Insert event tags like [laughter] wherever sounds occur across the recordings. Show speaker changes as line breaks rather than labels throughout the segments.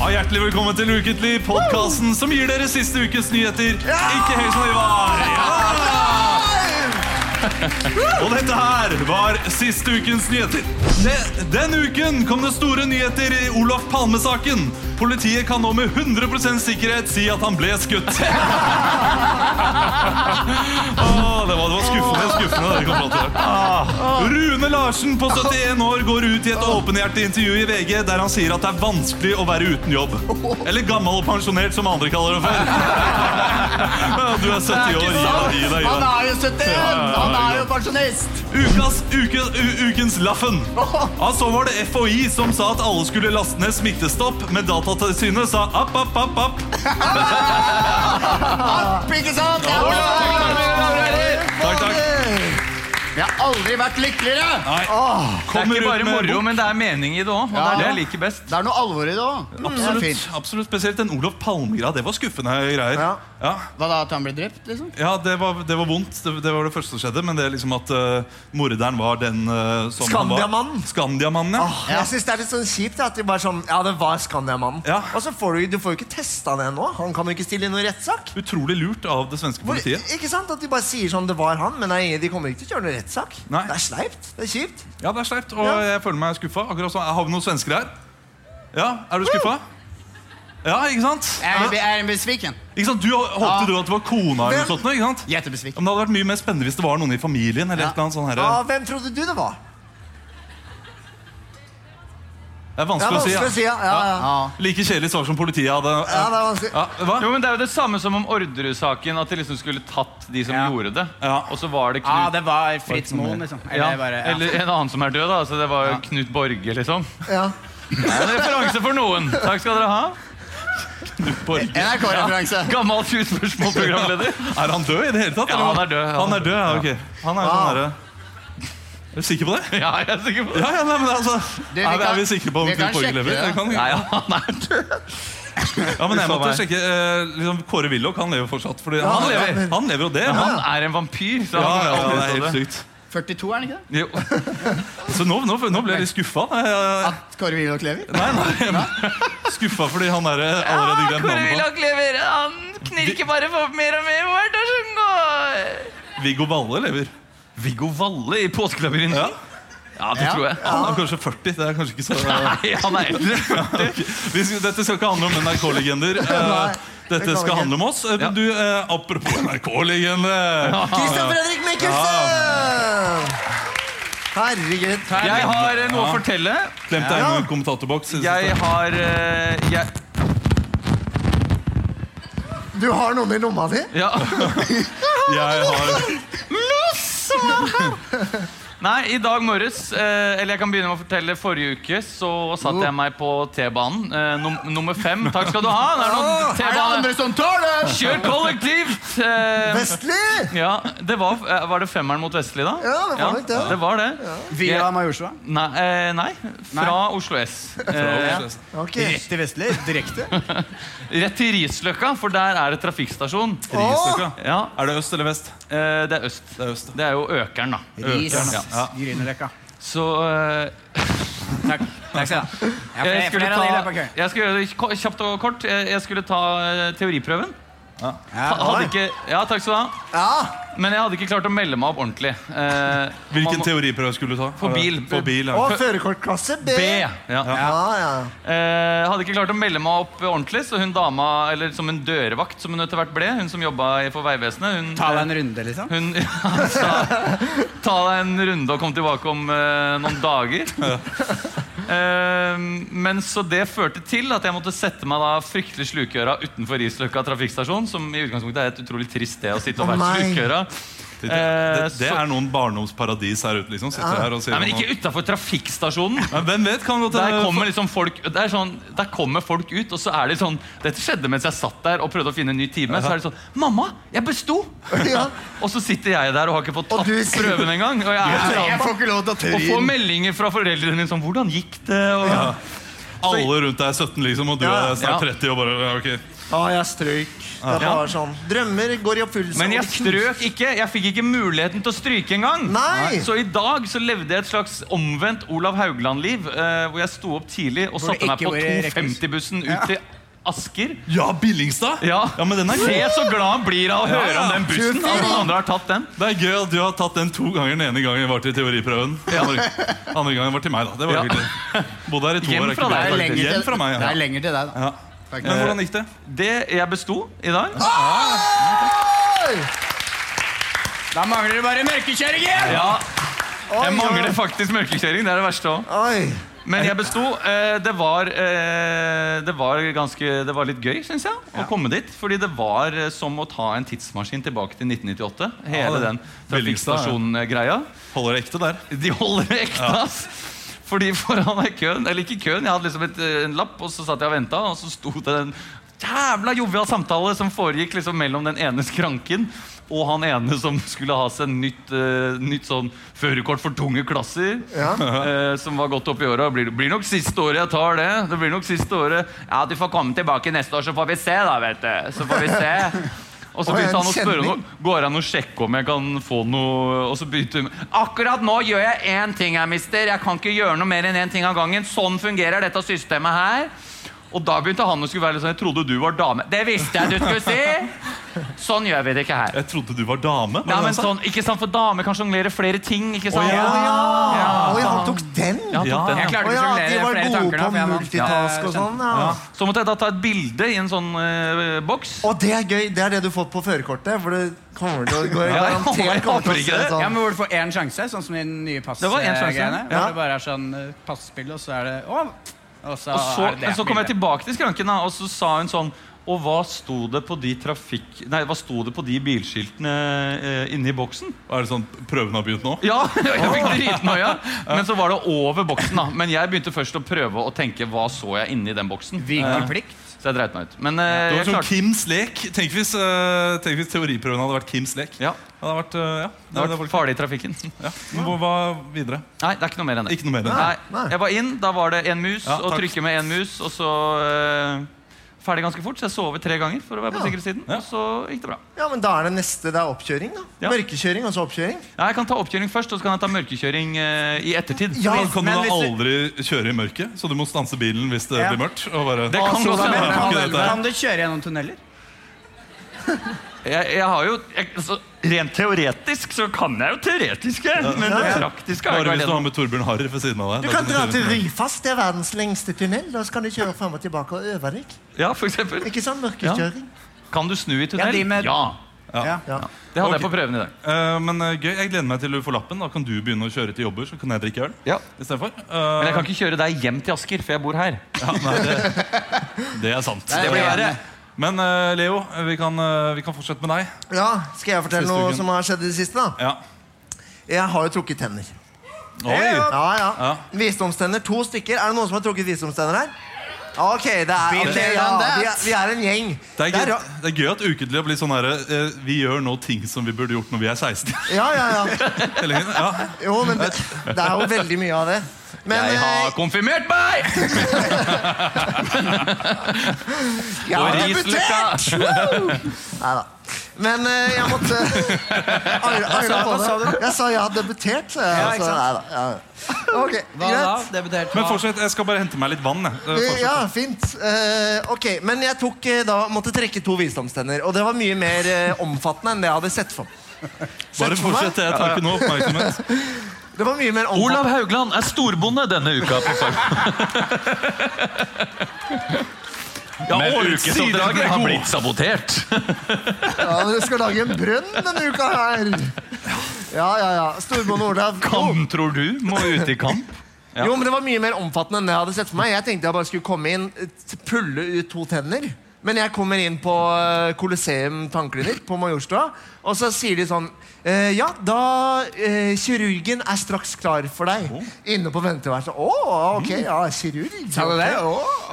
Ja, Hjertelig velkommen til Ukentlig, podkasten som gir dere siste ukes nyheter. Ikke høy som de var. Ja! Og dette her var siste ukens nyheter. Ne- Den uken kom det store nyheter i Olaf Palme-saken. Politiet kan nå med 100 sikkerhet si at han ble skutt. [laughs] Åh, det, var, det var skuffende, skuffende det vi kom fram til. Ah. Rune Larsen på 71 år går ut i et åpenhjertig intervju i VG der han sier at det er vanskelig å være uten jobb. Eller gammel og pensjonert, som andre kaller det for. [laughs] Ja, Du er 70 år, gi deg, gi deg. Gi
Han
deg.
er jo 71! Han er jo pensjonist!
Ukas, uke, u, ukens Laffen. Ja, så var det FHI som sa at alle skulle laste ned Smittestopp, men Datatilsynet sa app, app, app, app.
Ikke sant? Ja, bra, bra, bra, bra, bra.
Takk, takk.
Jeg har aldri vært lykkeligere!
Nei.
Det er
Kommer
ikke
ut
bare
med
moro,
bok-
men det er mening i det òg. Og det er det jeg liker best.
Det er noe alvor i det òg.
Absolutt, absolutt, Spesielt den Olof Palme-greia. Det var skuffende greier.
Ja.
Ja.
Hva da, at han ble drept, liksom?
Ja, det var, det var vondt. Det, det var det første som skjedde. Men det er liksom at eh, morderen var den uh, som
Skandiamannen.
Skandiamannen, ja.
Jeg synes det er litt sånn kjipt at de bare sånn Ja, det var Skandiamannen.
Ja.
Og så får du, du får jo ikke testa det ennå. Han kan jo ikke stille i noen rettssak.
Utrolig lurt av det svenske
Hvor-
politiet.
Ikke sant? At de bare sier sånn Det var han, men nei, de kommer ikke til å kjøre noen rettssak.
Nei.
Det er sleipt. Det er kjipt.
Ja, det er sleipt, og
Ja.
jeg føler meg skuffa. Akkurat sånn. Har vi noen svensker her? Ja, er du skuffa? Ja, ikke sant?
Er det, er det besviken?
Ikke sant? Du håpte du at det var kona eller noe sånt? nå, ikke sant?
Jättebesviken.
Men det hadde vært mye mer spennende hvis det var noen i familien. eller et
Ja.
eller annet sånn her.
Ja, hvem trodde du det var?
Det er
Det er
vanskelig,
vanskelig å si.
ja.
Ja, ja, ja.
Ja.
Like kjedelig svar som politiet hadde.
ja det er vanskelig.
Ja, hva?
Jo, men Det er jo det samme som om Orderud-saken. At de liksom skulle tatt de som
Ja.
gjorde det.
Ja.
Og så var det Knut
Ja, det var Fritz Moen, liksom.
Ja,
Eller bare, ja.
Eller en annen som er død, da. Så det var jo Knut Borge, liksom.
Ja.
Det er en referanse for noen. Takk skal dere ha.
Borge.
NRK-referanse.
Gammel 20 spørsmål-programleder.
Er han død i det hele tatt?
Ja,
eller hva?
han er død.
Han er død, ja, ok. Han er sånn herre Er du sikker på det?
Ja, jeg er sikker på det.
Ja, ja, nei, men altså
Du, vi
er, vi- er
kan-
vi sikre på om
vi
Knut
kan
Borge
sjekke
lever?
det.
Jeg kan-
Nei, ja, han er død.
Ja, men jeg
Uff a
måtte
meg.
sjekke eh, liksom, Kåre Willoch, han lever fortsatt. Fordi han,
han
lever,
lever.
han lever og det. Ja,
Han er en vampyr. Så
ja,
han
ja,
aldri
det er
så
helt sykt.
42, er han ikke det?
Jo.
Så nå, nå, nå ble jeg litt skuffa. Eh,
At Kåre Willoch lever?
Nei, nei. Skuffa fordi han er eh, allerede glemt navnet på.
lever. Han knirker bare på mer og mer hvert år som går.
Viggo Valle lever.
Viggo Valle i Påskelabyrinten?
Ja.
Ja. det
Ja.
tror jeg.
Han er kanskje 40. det er kanskje ikke så...
Nei, han er eldre.
Ok, vi skal, dette skal ikke handle om
[laughs]
NRK-legender. Eh, dette
kan vi
skal
ikke.
handle om oss. Eh, men Du, eh, apropos NRK-legende.
Christian Fredrik Mikkelsen! Herregud.
Jeg har eh, noe
Ja.
å fortelle.
Glemte jeg noen kommentatorboks? synes
Jeg
jeg.
har eh, jeg,
Du har noen i lomma di?
ja.
Jeg har
Nei, i dag morges, eh, eller jeg kan begynne med å fortelle Forrige uke så satt
Oh.
jeg meg på T-banen. eh, num nummer fem. Takk skal du ha. Det er
Ah,
noen
Er det
T-bane.
andre som tar det?
Kjør kollektivt! Eh,
Vestli!
ja, det var, eh, var det femmeren mot Vestli, da?
Ja, det var nok det.
det, var det.
Via Majorstua.
Nei, eh, nei, fra Oslo S. Eh,
Ok.
Rett til Vestli. [laughs] Direkte.
Rett til Risløkka, for der er det trafikkstasjon.
Risløkka.
Ja,
Er det øst eller vest?
eh, Det er øst.
Det er øst.
Det er jo Økeren, da.
Ris.
Ja. Ja.
Grünerløkka.
Så eh,
Takk. Takk skal du ha.
jeg,
Jeg
skulle
flere av de i løpet
ta,
av kvelden.
jeg skal gjøre det ko- kjapt og kort. Jeg jeg skulle ta eh, teoriprøven.
Ja,
Ha- Hadde ikke, ja, takk skal du ha.
Ja.
Men jeg hadde ikke klart å melde meg opp ordentlig. Eh, man
Hvilken
må-
teoriprøve skulle du ta?
For bil.
For bil ja.
Og førerkortklasse B.
B. Ja.
Ja, ja.
Eh, hadde ikke klart å melde meg opp ordentlig, så hun dama, eller som en dørvakt, som hun etter hvert ble, hun som jobba i- for Vegvesenet hun,
Ta deg en runde, liksom.
Hun [laughs] ja, sa ta deg en runde og kom tilbake om eh, noen dager. Eh, men så det førte til at jeg måtte sette meg da fryktelig slukøra utenfor Risløkka trafikkstasjon, som i utgangspunktet er et utrolig trist sted å sitte og
Å,
være
nei.
slukøra.
Det,
Eh, Ah.
det, det er noen barndomsparadis her ute. liksom Sitter her og sier
Nei, men ikke utafor trafikkstasjonen.
Ja, Hvem vet? Kan godt
Der
eh,
hende-
kommer liksom folk det er sånn, Der kommer folk ut, og så er det sånn Dette skjedde mens jeg satt der og prøvde å finne en ny time. Så er det sånn Mamma, jeg besto!
Ja.
Og så sitter jeg der og har ikke fått
Og
tatt
du sier-
prøven engang. Og jeg er sånn,
Jeg får ikke lov til å
Og få
tryne.
meldinger fra foreldrene dine som 'Hvordan gikk det?' Og,
Alle rundt deg er 17, liksom, og du
Ja.
er snart
Ja.
30 og bare ja, ok.
Ja, jeg strøyk. Det
Ja.
var sånn. Drømmer går i oppfyllelse.
Men
og
jeg
de knuser-
strøk ikke. Jeg fikk ikke muligheten til å stryke engang.
Nei.
Så i dag så levde jeg et slags omvendt Olav Haugland-liv, eh, hvor jeg sto opp tidlig
Hvor
og
du
satte meg
ikke
på
var i rekkehus.
250-bussen ut til Asker.
Ja, Billingstad?
Ja.
men den er gøy.
Se så glad han blir av å høre
ja.
om den bussen. Alle andre har tatt den.
Det er gøy at du har tatt den to ganger. Den ene gangen var til
[laughs]
teoriprøven. Andre, andre gangen var til meg, da. Det var
Ja.
hyggelig. Bodde her i to
Hjem
år. er
fra
ikke bra.
deg,
Det er lenger
Hjem
til-
fra meg,
Det er
ja.
lenger til deg, da.
ja. Men
Eh.
hvordan gikk det?
Det jeg besto i dag
Da mangler det bare mørkekjøring igjen!
Ja,
Oi,
jeg mangler
ja.
faktisk mørkekjøring. Det er det verste òg.
Oi.
Men jeg besto. Eh, Det var, eh, det var, ganske, det var litt gøy, syns jeg, å komme dit. Fordi det var eh, som å ta en tidsmaskin tilbake til 1998. Hele
Ja,
den
Billingstad, ja.
trafikkstasjon-greia.
Holder det ekte der?
De holder det ekte, ass! Fordi foran meg i køen, eller ikke køen, jeg hadde liksom et, eh, en lapp, og så satt jeg og venta, og så sto det den jævla jovial samtale som foregikk liksom mellom den ene skranken og han ene som skulle ha seg nytt, eh, nytt sånn førerkort for tunge klasser. [laughs] eh, som var godt opp i åra. Blir, blir nok siste året jeg tar det. Det blir nok siste året Ja, du får komme tilbake neste år, så får vi se, da, vet du. Så får vi se. Og så
Oi,
begynte
en
han å spørre om
kjenning.
noe. Går det an å sjekke om jeg kan få noe Og så begynte hun Akkurat nå gjør jeg én ting her, mister. Jeg kan ikke gjøre noe mer enn én ting av gangen. Sånn fungerer dette systemet her. Og da begynte han å skulle være litt sånn Jeg trodde du var dame. Det visste jeg du skulle si! Sånn gjør vi det ikke her.
Jeg trodde du var dame. var
Ja,
det
men
han sa?
sånn, ikke sant, For damer kan sjonglere flere ting. ikke
Å,
sant?
ja.
Ja.
Oi, han tok den?
Ja, han tok den,
Jeg
ja.
klarte
Å
ikke å
ja, de
sjonglere
var
flere
gode
tanker da.
på
for jeg vant.
multitask og
Ja,
sånn. Ja.
Så måtte jeg da ta et bilde i en sånn eh, boks.
Og det er gøy. Det er det du får på førerkortet. For det kommer til å gå
Ja, jeg håper- jeg
garantert kommer til
håper
å
ikke
se
det.
sånn.
Ja, men Hvor du får én sjanse, sånn som i den nye
Det var én sjanse,
passgreiene.
ja.
Hvor det bare er sånn eh, passpill, og så er det Å! Og så,
Og så,
er det det
men så kom jeg tilbake til skranken, da, og så sa hun sånn Og hva sto det på de trafikk... Nei, hva sto det på de bilskiltene eh, inne i boksen?
Er det sånn prøven har begynt nå?
Ja, [laughs] jeg fikk dritnoia! Men så var det over boksen, da. Men jeg begynte først å prøve å tenke hva så jeg inni den boksen.
Vikeplikt.
Så jeg dreit meg ut. Men eh,
Det var
jeg
sånn
klarte
Kims lek. Tenk hvis, eh, tenk hvis teoriprøven hadde vært Kims lek.
ja,
Det hadde vært, eh, ja.
det
det
har vært farlig i trafikken.
[laughs] ja. Men Hva hva videre?
Nei, det er ikke noe mer enn det.
Ikke noe mer.
Nei,
Nei.
Jeg var inn, da var det en mus,
Ja,
og
takk.
trykke med en mus, og så eh, Ferdig ganske fort, så jeg sov tre ganger for å være på
Ja.
sikre siden.
Ja.
Og så gikk det bra.
Ja, men da er det neste. Det er oppkjøring, da.
Ja.
Mørkekjøring og så oppkjøring.
Ja, jeg kan ta oppkjøring først, og så kan jeg ta mørkekjøring eh, i ettertid.
Ja,
Kan du
men
da
hvis du-
aldri kjøre i mørket? Så du må stanse bilen hvis det
Ja.
blir mørkt? Og bare,
Det kan godt
men-
hende.
Ja,
Kan
ikke dette her.
kan du kjøre gjennom tunneler?
Jeg, jeg har jo jeg, altså, Rent teoretisk så kan jeg jo teoretiske, men det praktiske har
Bare
jeg ikke
hvis du har
vært
med Torbjørn Harry ved siden av deg.
Du
Da
kan dra
kjøre
til
i mørket.
Ryfast. Det er verdens lengste tunnel. Da skal du kjøre frem og tilbake og øve deg.
Ja, for eksempel.
Ikke sant? Mørkekjøring.
Kan du snu i
Ja,
tunnel?
de med-
Ja.
Ja.
Det hadde
Ok.
jeg på prøven i dag.
Eh, men eh, gøy, jeg gleder meg til du får lappen. Da kan du begynne å kjøre til jobber. Så kan jeg drikke øl istedenfor. Eh,
Men jeg kan ikke kjøre deg hjem til Asker, for jeg bor her.
ja, nei, det, det er sant.
Det blir verre.
Men eh, Leo, vi kan, eh, vi kan fortsette med deg.
ja, Skal jeg fortelle
Siste
noe
uken.
som har skjedd i det siste? da?
Ja.
Jeg har jo trukket tenner.
Oi!
Ja, ja.
Ja.
Visdomstenner. To stykker. Er det noen som har trukket visdomstenner her? Ok, det er, ok,
Better
ja,
than that.
vi, er, vi er en gjeng.
Det er, gøy,
ra-
det er gøy at ukentlig blir sånn herre eh, Vi gjør nå ting som vi burde gjort når vi er 16.
ja, ja, ja.
[laughs] Eller, ja.
Jo, men det, det er jo veldig mye av det. Men
Jeg
eh,
har konfirmert meg!
jeg
Og
har
Risløkka!
debutert! Neida. Men eh, jeg måtte Ar- arra på det. Jeg sa jeg hadde debutert. så
Ja,
jeg- altså,
ikke sant?
neida, ja. Ok,
Hva da?
greit.
Debutert
Men
hva?
fortsett. Jeg skal bare hente meg litt vann. Jeg. Eh, fortsett.
Ja, fint. Eh, ok, Men jeg tok eh, da måtte trekke to visdomstenner. Og det var mye mer eh, omfattende enn det jeg hadde sett for meg.
Bare
Sett for meg.
fortsett. Jeg tar ikke noe
[laughs]
oppmerksomhet.
Det var mye mer omfattende.
Olav Haugland er storbonde denne uka. på Farmen. Ja,
Men
og
ukesoppdraget
ukesoppdraget
er
har
god.
blitt sabotert.
Ja, Dere skal lage en brønn denne uka her. Ja, ja, ja. Storbonde Olav. Jo,
Kam, tror du, må ut i kamp.
jo, men det var mye mer omfattende enn det jeg hadde sett for meg. Jeg tenkte jeg bare skulle komme inn, t- eh, pulle ut to tenner. Men jeg kommer inn på eh, Colosseum tannklinikk på Majorstua, Og så sier de sånn eh, Ja, da eh, Kirurgen er straks klar for deg.
Oh.
Inne på venteværelset. Å, ok, ja, kirurg. Sa
Mm. du det?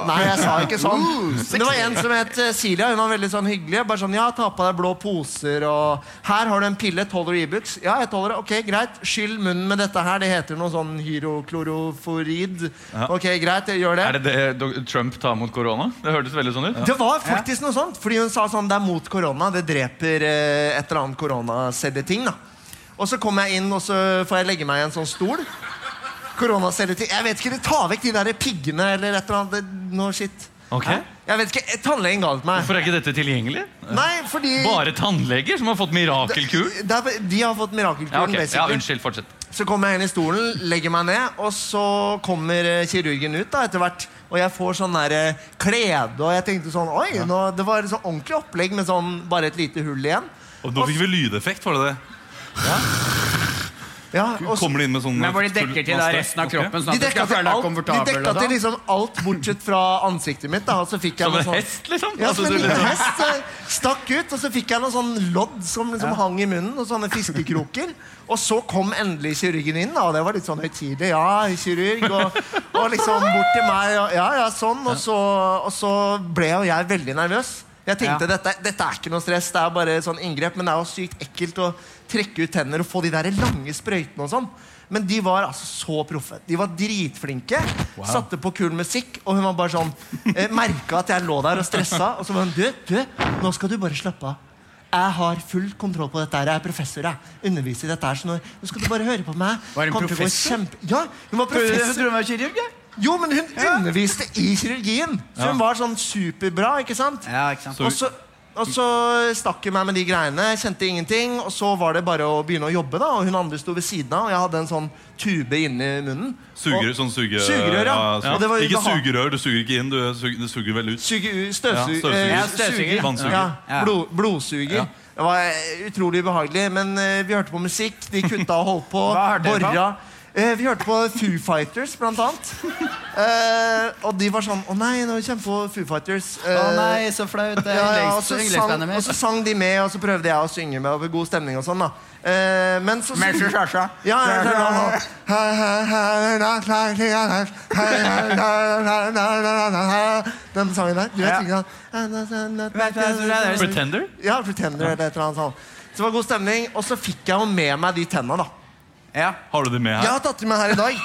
Nei, jeg sa ikke sånn. Men det var en som het eh, Silja. Hun var veldig sånn hyggelig. Bare sånn, ja, ta på deg blå poser og Her har du en pille. Tolver Ibux. Ja, jeg tåler det. Ok, greit. Skyll munnen med dette her. Det heter noe sånn hyrokloroforid. Ok, greit, jeg gjør det.
Er det det do- Trump tar mot korona? Det hørtes veldig sånn ut.
Det var faktisk noe sånt, fordi hun sa sånn, det er mot korona, det dreper eh, et eller annet koronacelleting, da. Og så kommer jeg inn, og så får jeg legge meg i en sånn stol. Koronacelleting, jeg vet ikke, de tar vekk de der piggene eller et eller annet, det- noe shit.
Ok.
Hæ? Jeg vet ikke, eh, tannlegen ga det til meg.
Hvorfor er ikke dette tilgjengelig?
Nei, fordi...
Bare tannleger som har fått mirakelkur?
Det er- De har fått mirakelkuren,
Ja, ok. ja,
basically.
unnskyld. Fortsett.
Så kommer jeg inn i stolen, legger meg ned, og så kommer eh, kirurgen ut da, etter hvert. Og jeg får sånn der eh, klede, og jeg tenkte sånn Oi, nå, det var et sånn ordentlig opplegg med sånn bare et lite hull igjen.
Og nå fikk vi lydeffekt, var det det?
Ja, og så,
Kommer det inn med sånn
Men hvor de dekker til da resten av kroppen, sånn at
de
du
dekka
skal
til,
føle deg
alt, de
komfortabel.
dekka
og
til
sånn.
liksom alt bortsett fra ansiktet mitt. da, og så fikk jeg
Som
noe
en
sånn...
hest, liksom?
Ja,
Altså,
som en
du
liten
liksom-
hest eh, stakk ut, og så fikk jeg noen sånn lodd som liksom hang i munnen, og sånne fiskekroker. Og så kom endelig kirurgen inn, da, og det var litt sånn høytidelig. Ja, kirurg. Og, og liksom bort til meg, og ja, ja, sånn. Og så, og så ble jo jeg veldig nervøs. Jeg tenkte dette, dette er ikke noe stress, det er bare sånn inngrep, men det er jo sykt ekkelt å trekke ut tenner og få de der lange sprøytene og sånn. Men de var altså så proffe. De var dritflinke. Satte på kul musikk, og hun var bare sånn eh, Merka at jeg lå der og stressa. Og så var hun Du, du, nå skal du bare slappe av. Jeg har full kontroll på dette her. Jeg er professor. Jeg underviser i dette her. Så nå, nå skal du bare høre på meg.
Var hun
Kommer til å gå
professor?
kjempe... Ja, hun var
Jeg
professor.
tror hun var kirurg, jeg.
Jo, men hun underviste i kirurgien. Så hun var sånn superbra, ikke sant?
Ja, ikke sant.
Og så, og så stakk hun meg med de greiene, kjente ingenting. Og så var det bare å begynne å jobbe, da. Og hun andre sto ved siden av, og jeg hadde en sånn tube inni munnen.
Sugerør,
Og-
sånn suge...
Sugerør, ja. Og det var
Ikke
ubehag-
sugerør, du suger ikke inn, du suger, det suger vel ut.
Suge ut
Ja,
Støvsuger.
støvsuger.
eh,
Ja, støvsuger.
Vannsuger.
Ja,
Ja.
blod, blodsuger. Det var eh, utrolig ubehagelig, men eh, vi hørte på musikk. De kutta og holdt på.
[laughs] Hva hørte dere på?
Borra. Eh, vi hørte på Foo Fighters, blant annet.
[laughs]
Eh, og de var sånn Å nei, nå kommer vi på Foo Fighters. Eh,
Å nei, så flaut. Det er
ja, altså, ja, og,
yndlings-
så sang,
yndlingsbandet
og så
mitt.
sang de med, og så prøvde jeg å synge med. Og god stemning og sånn da Eh, Men så
Men så sa jeg.
ja, ja, ja, ja. Den sangen der. Du vet
Ja.
ikke sant?
Pretender?
Ja, Pretender eller et eller annet sånt. Så det var god stemning, og så fikk jeg jo med meg de tenna, da.
Ja.
Har du det med
Jeg
her?
har tatt dem med her i dag.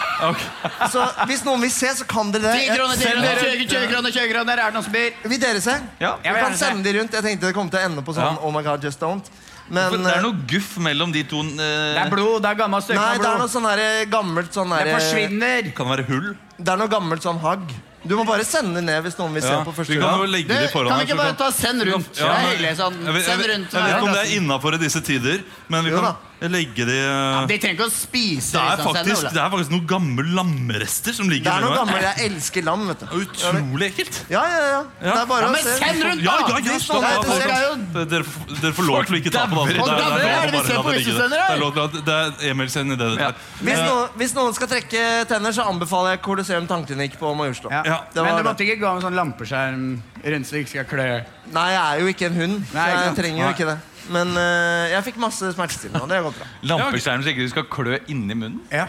Så hvis noen vil se, så kan dere det.
10 kroner, 10
Selv-
kroner, 20 20 kroner, 20 kroner. Er det noen som byr?
Vil dere se?
Ja,
Vi
jeg vil
kan
gjerne se.
sende de rundt. Jeg tenkte det kom til å ende på sånn
Ja.
Oh my God, just don't. Men
For det er noe guff mellom de to eh,
Det er blod. Det er gammelt
eh,
stykke
Nei,
med
det er
blod.
noe sånn her gammelt sånn
Det
her,
forsvinner.
Kan det være hull?
Det er noe gammelt sånn hagg. Du må bare sende ned hvis noen vil se
Ja.
på
Vi
første
kan jo
gang.
legge
Du,
de foran
kan
her.
vi
så
ikke bare ta send rundt? Det er
men-
hyggelig sånn.
Jeg vet-
Send
jeg vet-
rundt.
Jeg vet ikke om det
hverandre.
er innafor i disse tider, men vi
Jo da.
kan legge de eh,
De trenger ikke å spise.
Det er
liksom, send
faktisk, det er faktisk noen gamle lammerester som ligger
Det er noe
mellom her.
gammelt. Jeg elsker lam, vet du.
Utrolig ekkelt.
Ja, ja, ja. Det er
Ja,
bare
men
å se.
send rundt,
Ja, ja,
da!
ja, stopp,
Nei,
ja,
det
folk-
skal
Dere- dere, får- dere får lov til å ikke ta på det. altså. Det er- det
Folk
er-
dabber, er det vi
det er
ser
lov til å bare
på
la det ligge
utsender
der.
her?
Det er lov til å- det er Emil sender det
Ja.
der.
Hvis noen, hvis noen skal trekke tenner, så anbefaler jeg Colosseum tannklinikk på Majorstua.
Ja.
Ja.
Det
Men
var
du måtte ikke gå med sånn lampeskjerm rundt så det ikke skal klø.
Nei, jeg er jo ikke en hund, så
Nei, ikke
jeg
sant.
trenger jo ikke det. Men eh, jeg fikk masse smertestillende, og det har gått bra.
Lampeskjerm så ikke du skal klø inni munnen?
Ja.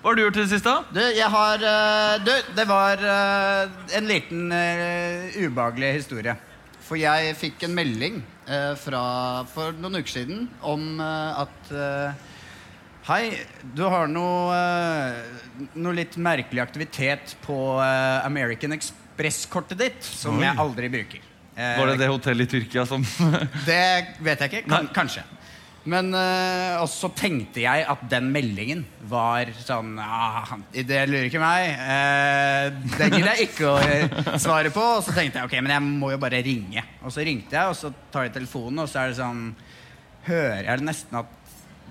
Hva har du gjort til det siste? da?
Du, jeg har eh, Du, det var eh, en liten eh, ubehagelig historie. For jeg fikk en melding eh, fra, for noen uker siden om eh, at eh, Hei, du har noe, eh, noe litt merkelig aktivitet på eh, American Express-kortet ditt som jeg aldri bruker. Eh,
Var det det hotellet i Tyrkia som
Det vet jeg ikke. Kan, kanskje. Men eh, Og så tenkte jeg at den meldingen var sånn ah, han- Det lurer ikke meg. Eh, det gidder jeg ikke å eh, svare på. Og så tenkte jeg ok, men jeg må jo bare ringe. Og så ringte jeg, og så tar jeg telefonen, og så er det sånn Hører jeg det nesten at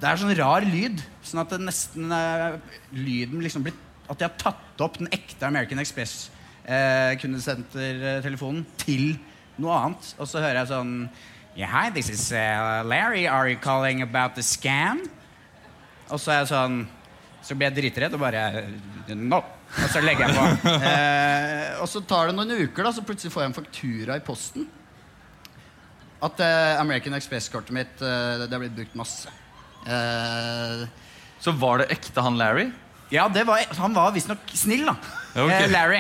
Det er sånn rar lyd. Sånn at det nesten eh, lyden liksom blir At de har tatt opp den ekte American Express eh, kundesentertelefonen til noe annet. Og så hører jeg sånn Yeah, hi, this is eh, Larry. Are you calling about the scam? Og så er jeg sånn Så blir jeg dritredd og bare No! Og så legger jeg på. eh, og så tar det noen uker, da, så plutselig får jeg en faktura i posten. at eh, American Express-kortet mitt eh, det har blitt brukt masse. Eh,
Så var det ekte han Larry?
ja, det var, han var visstnok snill, da.
Ja, ok.
Eh, Larry.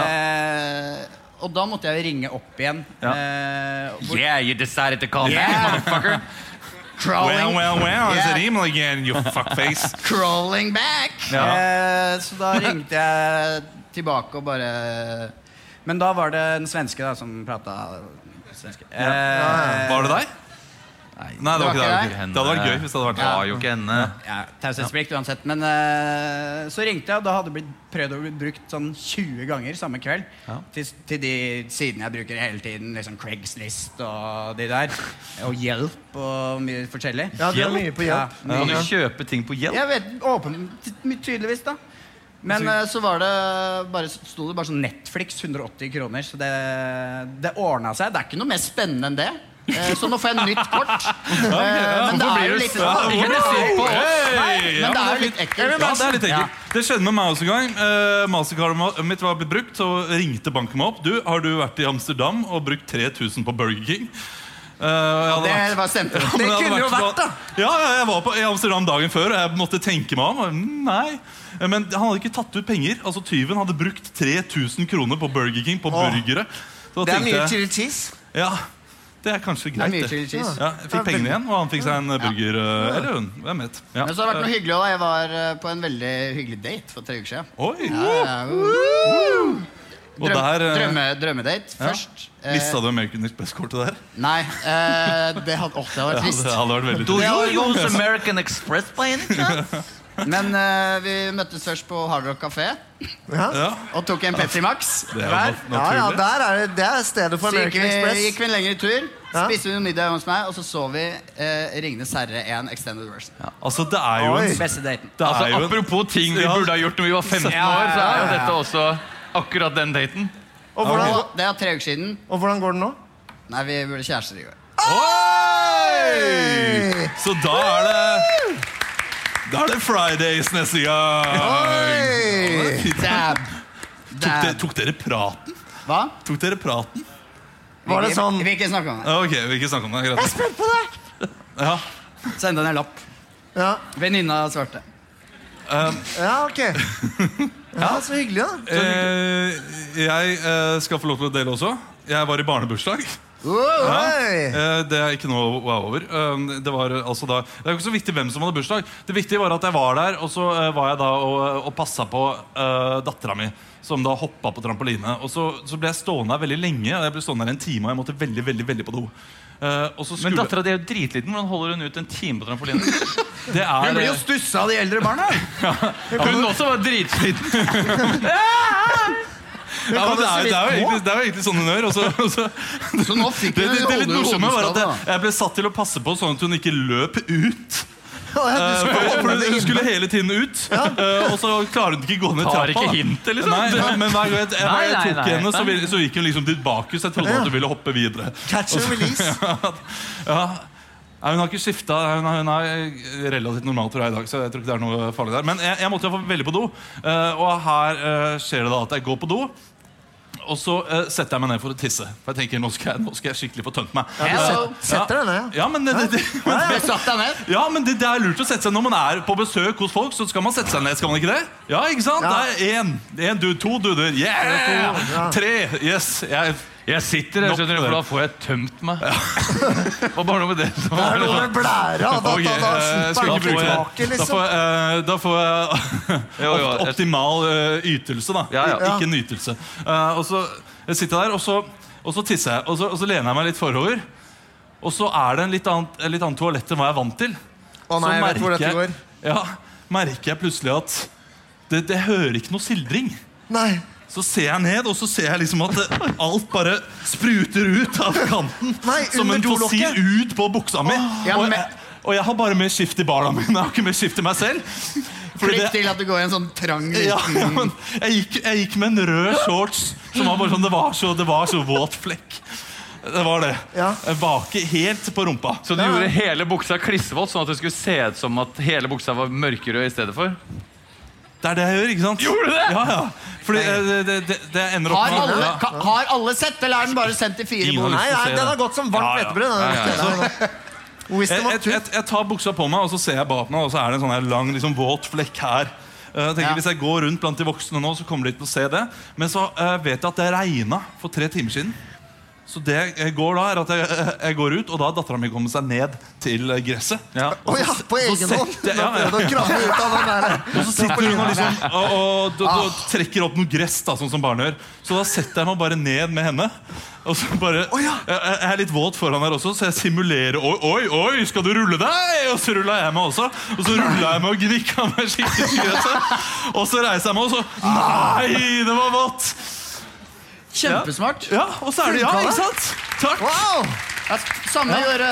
Eh, Og da måtte jeg jo ringe opp igjen.
Ja.
eh, hvor-
Yeah, you decided to call
Yeah.
motherfucker.
Well,
Crawling,
well, well, is
Yeah.
it him again, you fuckface?
crawling back!
Ja.
Eh, så da ringte jeg tilbake og bare Men da var det en svenske da som prata svenske. Eh,
Var det deg? Nei, det var ikke deg.
deg.
Det hadde vært gøy hvis det hadde vært
Det var jo ikke henne.
Ja, Taushetsplikt uansett. Men eh, så ringte jeg, og da hadde det blitt prøvd å bli brukt sånn 20 ganger samme kveld.
Ja.
Til, til de sidene jeg bruker hele tiden. Liksom Craigslist og de der. Og hjelp og mye forskjellig.
Ja, du er mye på
Ja,
hjelp.
Kan du
mye.
kjøpe ting på hjelp?
Jeg vet, åpen, ty- my- tydeligvis, da. Men eh, så var det bare, så sto det bare sånn Netflix 180 kroner, så det, det ordna seg. Det er ikke noe mer spennende enn det. Eh, Så nå får jeg nytt kort. Eh, Men det
Hvorfor
er
blir
jo
du
litt sånn-
så- Ikke bli sint på oss.
Hey!
Men
Ja, Ja,
det er jo litt
men
ekkelt.
det er litt
Ja.
ekkelt. Det skjedde med meg også en gang. Eh, Mastercardet mitt var blitt brukt, så ringte banken meg opp. Du, har du vært i Amsterdam og brukt 3000 på Burger King? Eh, og jeg hadde vært-
Det var stemte.
Ja, men [laughs] jeg
Det
hadde
kunne jo vært, da.
Ja, ja, jeg var på, i Amsterdam dagen før, og jeg måtte tenke meg om. og mm, Nei. Men han hadde ikke tatt ut penger. Altså, Tyven hadde brukt 3000 kroner på Burger King på
Åh.
burgere. Så da
Det er mye
tenkte jeg,
chili cheese.
ja, det er kanskje
Det er
greit,
mye
det.
chili cheese.
Ja, jeg fikk pengene igjen, og han fikk seg en eh, burger. eh, Eller hun. Hvem vet. Ja.
Men så har det vært noe hyggelig også. Jeg var eh, på en veldig hyggelig date for tre uker siden.
Oi! Og
Drøm,
der eh, sånn.
drømme, drømmedate først. Eh,
mista du American Express-kortet der.
nei, eh, det hadde, åh, det
[laughs] Ja,
hadde vært trist.
det hadde vært veldig
Do
trist.
you use American Express by any chance?
Men eh, vi møttes først på Hard Rock Café
Ja.
Ja,
og tok en Pepsi Max
det er
hver.
jo nat-
Ja, ja,
naturlig.
der er det, det er stedet for
Så gikk
American
vi,
Express.
gikk vi en lengre tur,
Ja.
spiste vi noe middag hos meg, og så så vi eh, Ringenes herre 1 Extended Version.
Altså, det er jo en
Oi.
Beste daten.
det er
Altså,
jo en,
apropos ting vi
Ja.
burde ha gjort når vi var 15
Ja, ja,
år, så er jo
ja, ja.
dette også akkurat den daten.
Og hvordan,
Og det er tre uker siden.
og hvordan går det nå?
Nei, vi ble kjærester i går.
Oi! Så da er det Da er det Fridays neste gang.
Oi!
Dab.
Tok dere,
Dab.
tok dere praten?
Hva?
Tok dere praten?
Var det sånn-
Vi, vi ikke snakke om det.
Ja, Ok, vi vil ikke snakke om det.
Jeg
Greit.
spent på deg!
Ja.
Send en lapp.
Ja,
Venninna svarte.
ja ok. Ja, så hyggelig, da.
Eh, jeg eh, skal få lov til å dele også. Jeg var i barnebursdag.
Wow.
Oi!
Eh, det er ikke noe wow over. Eh, det, var, eh, altså, da, det er jo ikke så viktig hvem som hadde bursdag. Det viktige var at jeg var der, og så eh, var jeg da og, og passa på uh, dattera mi. Som da hoppa på trampoline. Og så, så ble jeg stående her veldig lenge. Og jeg ble stående her en time, og jeg måtte veldig, veldig, veldig på do. Eh, og så
Men
skulle
dattera di er jo dritliten. Hvordan holder hun ut en time på trampoline? [laughs]
det er, eh, altså-
Hun blir jo stussa av de eldre barna.
Hun også var
[laughs]
dritsliten.
Ja, men altså, det,
Kan
er,
du
det, er jo
si litt
egentlig, det er jo egentlig sånn hun gjør. Og så, og så,
Så nå fikk
[laughs] det,
hun
det, det litt
en
morsomme var at
hodeskalle.
jeg, jeg ble satt til å passe på sånn at hun ikke løp ut.
Å, ja,
Eh, [laughs] For
du skulle
for
holde
hun
det
skulle hele tiden ut, eh, og så klarer hun ikke gå ned
Tar
trappa.
ikke
da.
hintet, liksom.
Nei, nei, men hver gang jeg, hver gang
Nei, nei,
jeg tok
nei,
henne, så,
nei.
vil- så gikk hun liksom tilbake, så jeg trodde at hun ville hoppe videre. [laughs]
Catch and release.
Ja. Nei, hun har ikke skifta. Hun, er- hun er relativt normal tror jeg, i dag. så jeg tror ikke det er noe farlig der. Men jeg, jeg måtte iallfall veldig på do, eh, og her eh, skjer det da at jeg går på do. Og så eh, setter jeg meg ned for å tisse. For jeg tenker, nå skal jeg, nå skal jeg skikkelig få tømt meg.
Hello.
Setter deg ned.
Ja, [laughs] men det, det, det,
Besatt deg ned.
ja, men det, det er lurt å sette seg Når man er på besøk hos folk, så skal man sette seg ned. Skal man ikke det? Ja, ikke sant?
Ja.
Det er én. Én dude, to duder. Yeah!
To, ja.
Tre. Yes. Jeg,
Jeg sitter
Nok
her, skjønner du,
det.
for da får jeg tømt meg. [laughs] Og bare noe med det som
Det er noe med blæra. Da,
Ok,
da, da,
eh, skal
slipper
ikke bruke
han
det.
taket,
Da
liksom.
får, jeg- eh, da får jeg [laughs]
Jo, jo,
opt-
jeg-
optimal eh, ytelse, da.
Ja, ja.
Ikke nytelse. Eh, og så jeg sitter jeg der, og så, og så tisser jeg. Og så, og så lener jeg meg litt forover. Og så er det en litt annet, en litt annet toalett enn hva jeg er vant til.
Å nei,
så
jeg vet hvor dette
merker jeg-
går.
Ja, merker jeg plutselig at det, det hører ikke noe sildring.
Nei.
Så ser jeg ned, og så ser jeg liksom at det, alt bare spruter ut av kanten.
Nei,
som en
under dolokket.
fossil ut på buksa mi.
Ja,
og,
men-
jeg, og jeg har bare med skift i barna mine. Jeg har ikke med skift i meg selv. Fordi
Flipp
det-
til at du går i en sånn trang
[laughs] ja,
liten
men jeg, gikk, jeg gikk med en rød shorts som var bare sånn, det var så, det var så våt flekk. Det var det.
Ja.
Jeg bake helt på rumpa.
Så du gjorde hele buksa klissvåt, sånn at det skulle se ut som at hele buksa var mørkerød i stedet for?
Det er det jeg gjør, ikke sant?
Gjorde du det?
Ja, ja. Fordi eh, det, det, det, det ender opp
Har
med-
alle,
Ja.
ka, har alle sett, eller er den bare sendt i fire
Ingen
bord?
har
Nei,
lyst til å
nei,
se
den
det.
har gått som varmt
Ja, ja.
hvetebrød. den
Ja, ja.
der. Wisdom
Jeg,
of
jeg, jeg,
truth.
jeg tar buksa på meg, og så ser jeg bak meg, og så er det en sånn her lang, liksom, våt flekk her. Eh, Jeg tenker,
Ja.
Hvis jeg går rundt blant de voksne nå, så kommer de ikke til å se det. Men så eh, vet jeg at det regna for tre timer siden. Så det jeg går da, er at jeg, eh, jeg går ut, og da har dattera mi kommet seg ned til eh, gresset.
Ja.
Å ja, på egen
setter
hånd!
jeg-
Nå
ja, ja.
prøvde jeg å krabbe ut av den der.
Og så sitter hun og, liksom, og, og, og, og trekker opp noe gress, da, sånn som barn gjør. Så da setter jeg meg bare ned med henne. Og så bare,
Å, ja.
jeg, jeg jeg er litt våt foran her også, så jeg simulerer Oi, oi, oi, skal du rulle deg? Og så rulla jeg meg også. Og så rulla jeg meg og gnikka meg skikkelig i gresset. Og så reiser jeg meg, og så Nei, det var vått!
Kjempesmart.
Ja, og så er det Ja, ikke sant? Takk.
Wow!
Ja, samme gjorde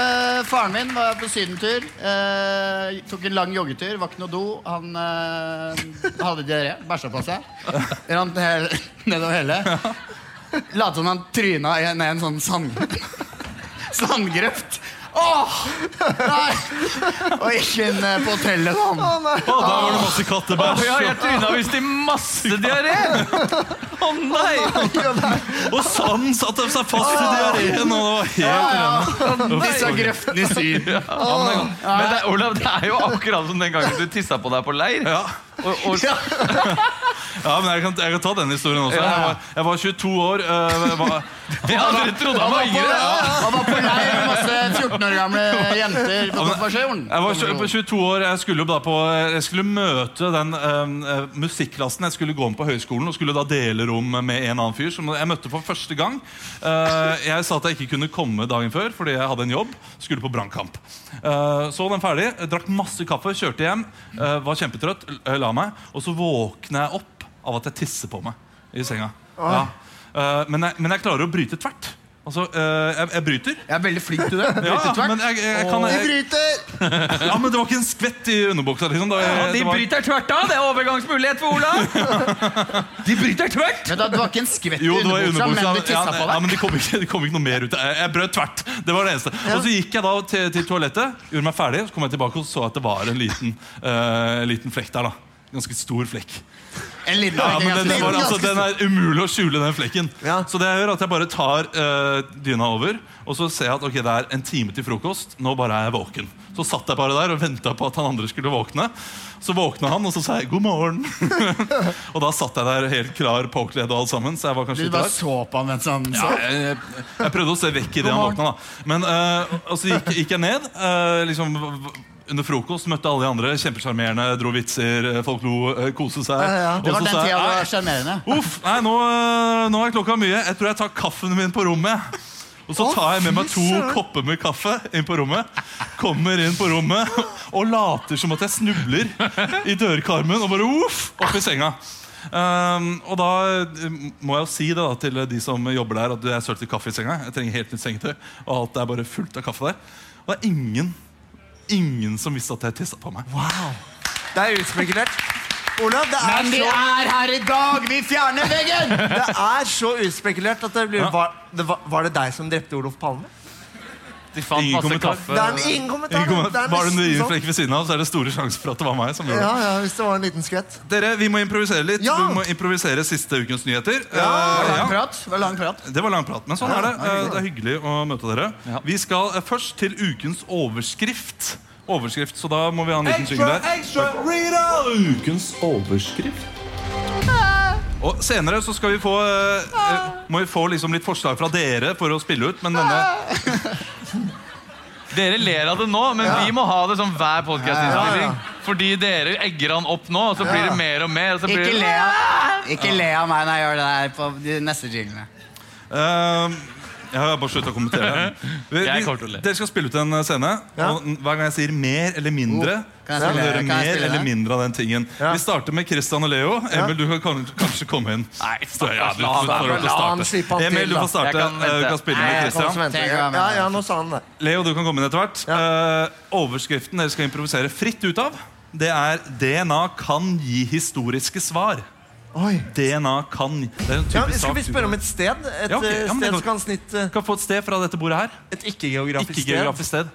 faren min. Var på sydentur. Eh, tok en lang joggetur. Var ikke noe do. Han eh, hadde diaré. Bæsja på seg. Rant hel, nedover hele. Lot som han tryna i- ned en sånn sand, sandgrøft. Åh! Nei! Og gikk inn eh, på hotellet sånn.
Å, der var det masse
Å
kattebæsj.
ja, jeg tryna visst i masse diaré! Å nei!
Og sand satte seg fast i diareen. Og det var helt
Disse grøftene i syd.
Men det, er- Olav, det er jo akkurat som den gangen du tissa på deg på leir.
Ja.
Og, og,
Ja, men jeg kan, jeg kan ta den historien også. Jeg var, jeg var 22 år.
[laughs]
øh, jeg var,
ja, dere trodde han var yngre!
Han var på leir med masse 14 år gamle jenter på konfirmasjon.
jeg var tjue- på 22 år, jeg skulle, jo da på, jeg skulle møte den øh, øh, musikklassen. Jeg skulle gå om på høyskolen og skulle da dele rom med en annen fyr som jeg møtte for første gang. Eh, jeg sa at jeg ikke kunne komme dagen før fordi jeg hadde en jobb. Skulle på brannkamp. Eh, så den ferdig. jeg Drakk masse kaffe, kjørte hjem. eh, var kjempetrøtt, l- la meg. Og så våkner jeg opp av at jeg tisser på meg i senga. Ja. Eh, men, jeg, men jeg klarer å bryte tvert. Altså, eh, jeg, jeg bryter.
Jeg er veldig flink til [laughs] det.
Ja, ja, men jeg, jeg, jeg kan,
De
jeg,
bryter!
[laughs] ja, men det var ikke en skvett i underbuksa. Liksom. Det, var-
De
det var,
bryter tvert av! Det er overgangsmulighet for
[laughs]
Olav! De bryter tvert!
Men da, det var ikke en skvett i
jo, det var i
underbuksa, men
underbuksa.
du tissa
Ja,
på
ja,
deg.
men det kom, ikke, det kom ikke noe mer ut. Jeg, jeg brøt tvert. Det var det eneste. Og så gikk jeg da til, til toalettet, gjorde meg ferdig, så kom jeg tilbake og så at det var en liten, eh, liten flekk der. da. Ganske stor flekk.
En liten
Ja, men den,
ganske
den, var,
stor.
altså, den er umulig å skjule den flekken.
Ja.
Så det jeg gjør er at jeg bare tar eh, dyna over, og så ser jeg at ok, det er en time til frokost. Nå bare er jeg våken. Så satt jeg bare der og venta på at han andre skulle våkne. Så våkna han, og så sa jeg 'god morgen'. [laughs] og da satt jeg der helt klar påkledd og alt sammen. Så jeg var kanskje
Du
litt
bare
rar.
så på han mens han så.
Ja, jeg, jeg- jeg prøvde å se vekk idet han våkna. da Men eh, og så gikk, gikk jeg ned. eh, liksom v- v- under frokost møtte alle de andre. Kjempesjarmerende, dro vitser, eh, folk lo, eh, koste seg.
ja.
Og så
Det var den
sa jeg,
tida du
«Nei,
var sjarmerende.
Uff, nei, nå, øh, nå er klokka mye. Jeg tror jeg tar kaffen min på rommet. jeg. Og så tar jeg med meg to kopper med kaffe inn på rommet. Kommer inn på rommet og later som at jeg snubler i dørkarmen og bare uff, opp i senga. Ehm, og da eh, må jeg jo si det da til de som jobber der, at jeg sølte kaffe i senga. Jeg trenger helt nytt sengetøy. Og alt er bare fullt av kaffe der. Og det er ingen, ingen som visste at jeg tissa på meg.
Det er utspekulert. Olav, det er,
Men vi
så,
er her i dag! Vi fjerner veggen!
det er så utspekulert at det blir var, det var, var det deg som drepte Olof Palme?
De fant
Ingen
masse
kommentar.
Det
kaffe.
er en ingen kommentar.
Ingen kom-
Det er
Var det en
nesten
urin
sånn.
flekk ved siden av, så er det store sjanser for at det var meg. som gjorde det
Ja, ja, hvis det var en liten skvett.
Dere, vi må improvisere litt.
Ja.
Vi må improvisere siste ukens nyheter.
Det var
Eh,
[laughs] lang prat. Det var lang prat.
Det var lang prat, men sånn er det. Eh, Det er hyggelig å møte dere.
Ja.
Vi skal eh, først til ukens overskrift. Overskrift, Så da må vi ha en liten jingle der.
Ukens overskrift.
Og senere så skal vi få eh, eh, Må vi få liksom litt forslag fra dere for å spille ut, men denne
Dere ler av det nå, men vi må ha det som hver podkastinnspilling. Fordi dere egger han opp nå, og så blir det mer og mer. Og så blir
Ikke le
det...
av, ikke le av meg når jeg gjør det der på de neste jinglene.
eh, Jeg har bare sluttet å kommentere.
[laughs]
Vi,
Jeg kommer til å le.
dere skal spille ut en eh, scene.
Ja.
Og n- hver gang jeg sier 'mer' eller 'mindre',
Oh, kan jeg
så
spille-
må dere
kan jeg
mer
spille
eller
det?
mindre av den tingen.
Ja.
Vi starter med Christian og Leo. Emil, du kan kan kanskje komme inn.
Nei,
Ja,
stakkars
du får får
Lars.
lov til å
La han
starte.
slippe han
Emil,
til,
du
da.
får starte.
Jeg kan vente.
Eh, Du kan spille med
Jeg kan
Christian.
også vente.
Tenk hva jeg
Ja,
mener.
ja, nå sa han det.
Leo, du kan komme inn etter hvert. Eh, overskriften dere skal improvisere fritt ut av, det er DNA kan gi historiske svar.
Oi.
DNA kan Det er en
Ja,
typisk
skal vi spørre om et sted? Et
Ja, ok.
eh,
Ja, men det
sted
kan-
som kan snitte
Kan få et sted fra dette bordet her.
Et ikke-geografisk
Ikke geografisk sted.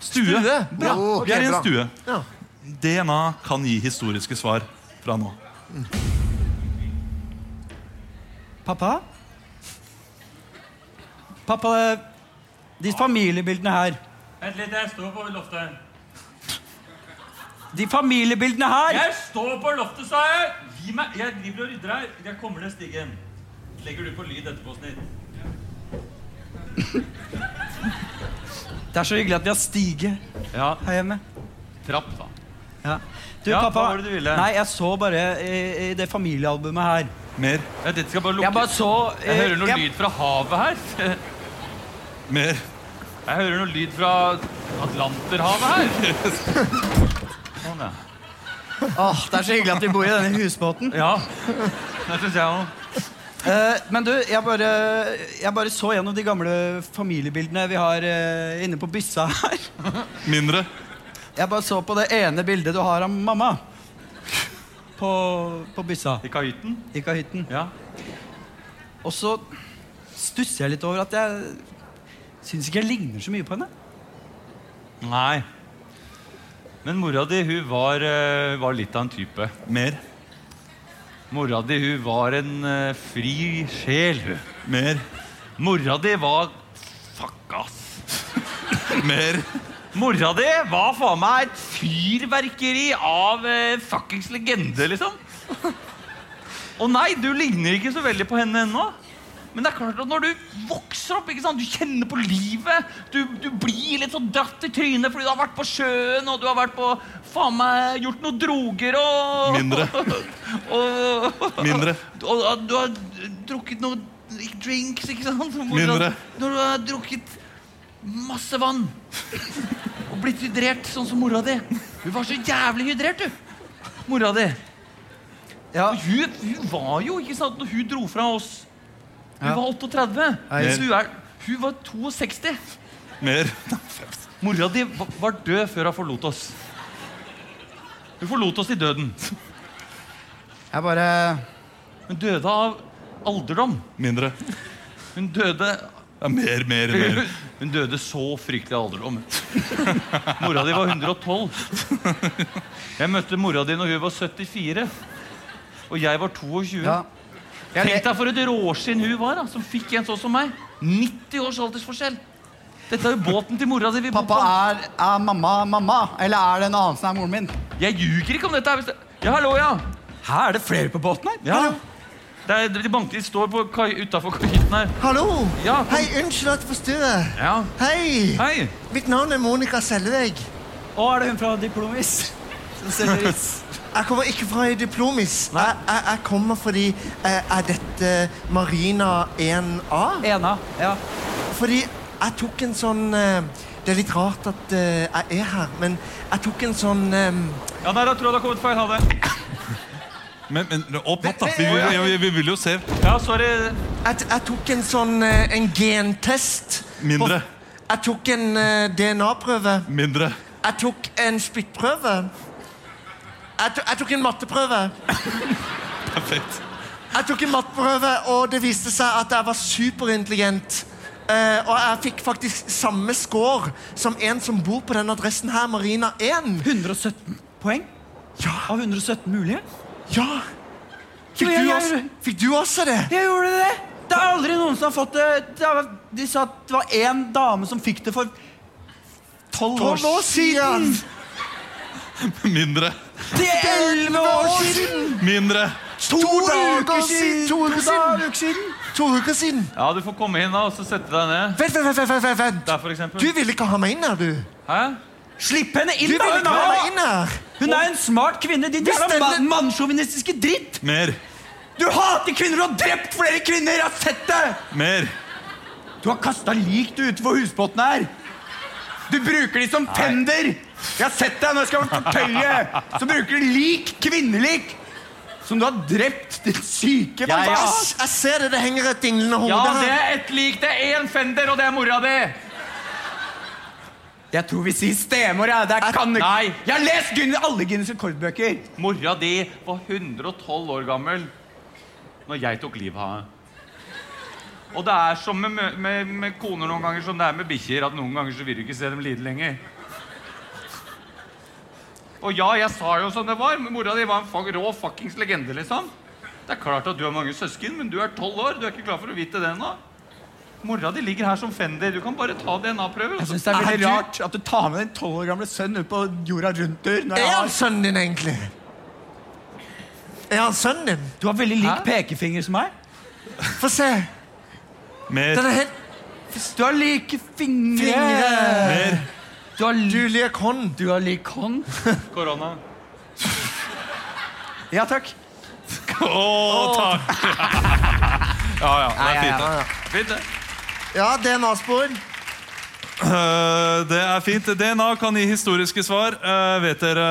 Stue.
Stue?
Bra.
Ja, ok,
vi er i en
bra.
stue.
Ja.
DNA kan gi historiske svar fra nå.
Pappa? Pappa, de familiebildene her
Vent litt, jeg står på loftet.
De familiebildene her!
Jeg står på loftet, sa jeg! Gi meg, Jeg driver og rydder her. Jeg kommer ned stigen. Legger du på lyd etterpå, snill?
Det er så hyggelig at vi har stige
Ja,
her hjemme.
trapp, da.
Ja. Du,
Ja,
pappa.
hva var det du ville?
Nei, jeg så bare i, i det familiealbumet her.
Mer,
Jeg, dette skal bare lukke.
Jeg bare så eh,
jeg hører noe
jeg,
lyd fra havet her.
mer.
Jeg hører noe lyd fra Atlanterhavet her. Sånn, ja.
Åh, Det er så hyggelig at vi bor i denne husbåten.
ja. Det syns jeg òg.
Eh, men du, jeg bare, jeg bare så gjennom de gamle familiebildene vi har eh, inne på byssa her.
Mindre.
Jeg bare så på det ene bildet du har av mamma. På, på byssa
I kahytten.
i kahytten.
Ja.
Og så stusser jeg litt over at jeg syns ikke jeg ligner så mye på henne.
Nei. Men mora di, hun var, eh, var litt av en type.
Mer.
Mora di, hun var en eh, fri sjel, hun.
Mer.
Mora di var Fuck, ass.
[laughs] Mer.
Mora di var faen meg et fyrverkeri av eh, fuckings legende, liksom. Og nei, du ligner ikke så veldig på henne ennå. Men det er klart at når du vokser opp, ikke sant? du kjenner på livet Du, du blir litt sånn dratt i trynet fordi du har vært på sjøen og du har vært på, faen meg, gjort noen droger og
Mindre.
[laughs] og,
Mindre.
og, og du har drukket noen drinks, ikke sant? Hvor du
Mindre.
Har, når du har drukket masse vann og blitt hydrert, sånn som mora di. Hun var så jævlig hydrert, du. Mora di.
Ja.
Og hun, hun var jo, ikke sant, når hun dro fra oss Hun
Ja.
var 38.
Ja.
Så hun, er, hun var 62.
Mer.
Mora di va- var død før hun forlot oss. Hun forlot oss i døden.
Jeg bare
Hun døde av alderdom.
Mindre.
Hun døde
Ja, mer, mer, mer.
Hun døde så fryktelig av alderdom. Mora di var 112. Jeg møtte mora di når hun var 74. Og jeg var 22.
Ja.
Tenk deg for et råskinn hun var, da, som fikk en sånn som meg. 90 års aldersforskjell. Dette er jo båten til mora di. vi bor
Pappa,
på.
er, er mamma mamma? Eller er det en annen som er moren min?
Jeg ljuger ikke om dette. her, hvis det- Ja, hallo, ja.
Her er det flere på båten her!
ja. Det er, de banker, de står utafor kahytten her.
Hallo!
Ja, kom.
Hei, unnskyld at jeg forstyrrer.
Ja.
Hei!
Hei.
Mitt navn er Monica Selveg.
Og er det hun fra Diplomis? Som selger is.
[laughs] Jeg kommer ikke fra i Diplomis. Jeg, jeg, jeg kommer fordi eh, Er dette Marina 1A?
Ena. Ja.
Fordi jeg tok en sånn eh, Det er litt rart at eh, jeg er her, men jeg tok en sånn eh,
Ja, nei, da tror jeg det har kommet feil. Ha det.
Men, men opp natt, da. Vi, vi, vi, vi vil jo se.
Ja, sorry.
Jeg, jeg tok en sånn eh, en gentest.
Mindre.
På, jeg tok en eh, DNA-prøve.
Mindre.
Jeg tok en spyttprøve. Jeg, to, jeg tok en matteprøve.
Perfekt.
Jeg tok en matteprøve, og det viste seg at jeg var superintelligent. Eh, og jeg fikk faktisk samme score som en som bor på denne adressen her, Marina 1.
117 poeng?
Ja.
Av 117 mulige?
Ja! Fikk
Jeg-
du
jeg-
også, fikk du også det?
Jeg gjorde det! Det er aldri noen som har fått det. det er, de sa at det var én dame som fikk det for tolv år
Tolv år
siden.
siden!
Mindre.
Til elleve år siden!
Mindre.
To, dager siden! To uker siden!
dager siden.
To uker siden.
Ja, du får komme inn da, og så sette deg ned.
Vent, vent, vent, vent, vent, vent.
Der, for eksempel.
Du vil ikke ha meg inn her, du.
Hæ?
Slipp henne inn,
Du
da!
vil
Hun
ikke ha meg
er,
inn her.
hun er en smart kvinne. Din jævla
Bestemmer-
ma- mannssjåvinistiske dritt!
Mer.
Du hater kvinner! Du har drept flere kvinner! Jeg har sett det!
Mer.
Du har kasta lik du utenfor husbåten her. Du bruker de som fender! Jeg har sett deg når jeg skal fortøye! Så bruker du lik, kvinnelik, som du har drept, din syke
Jeg,
barbar.
s- jeg ser det, det henger et dinglende hode
Ja, det
her.
er ett lik, det er én fender, og det er mora di!
Jeg tror vi sier stemor. Jeg. Det er kan ikke-
Nei.
Jeg har lest Gun alle Guinness rekordbøker.
Mora di var 112 år gammel når jeg tok livet av henne. Og det er som med, mø- med, med koner noen ganger som det er med bikkjer, at noen ganger så vil du ikke se dem lide lenger. Og ja, jeg sa jo som det var, men mora di var en fuck, rå fuckings legende, liksom. Det er klart at du har mange søsken, men du er tolv år. Du er ikke klar for å vite det ennå. Mora di ligger her som Fender. Du kan bare ta DNA-prøver.
Jeg syns det er veldig rart at du tar med din tolv år gamle sønn ut på jorda rundt-tur. når jeg
Er
har-
han sønnen din, egentlig? Er han sønnen din?
Du har veldig lik pekefinger som meg.
Få se.
Mer.
Den er helt
Du har like fingre.
Mer.
Du har, li-
Julie Conn.
du har lik hånd.
Korona.
Ja takk.
Å, takk! [laughs] Ja, ja. Det er fint. det.
Fint, det.
Ja, DNA-spor.
Eh, Det er fint. DNA kan gi historiske svar. Eh, Vet dere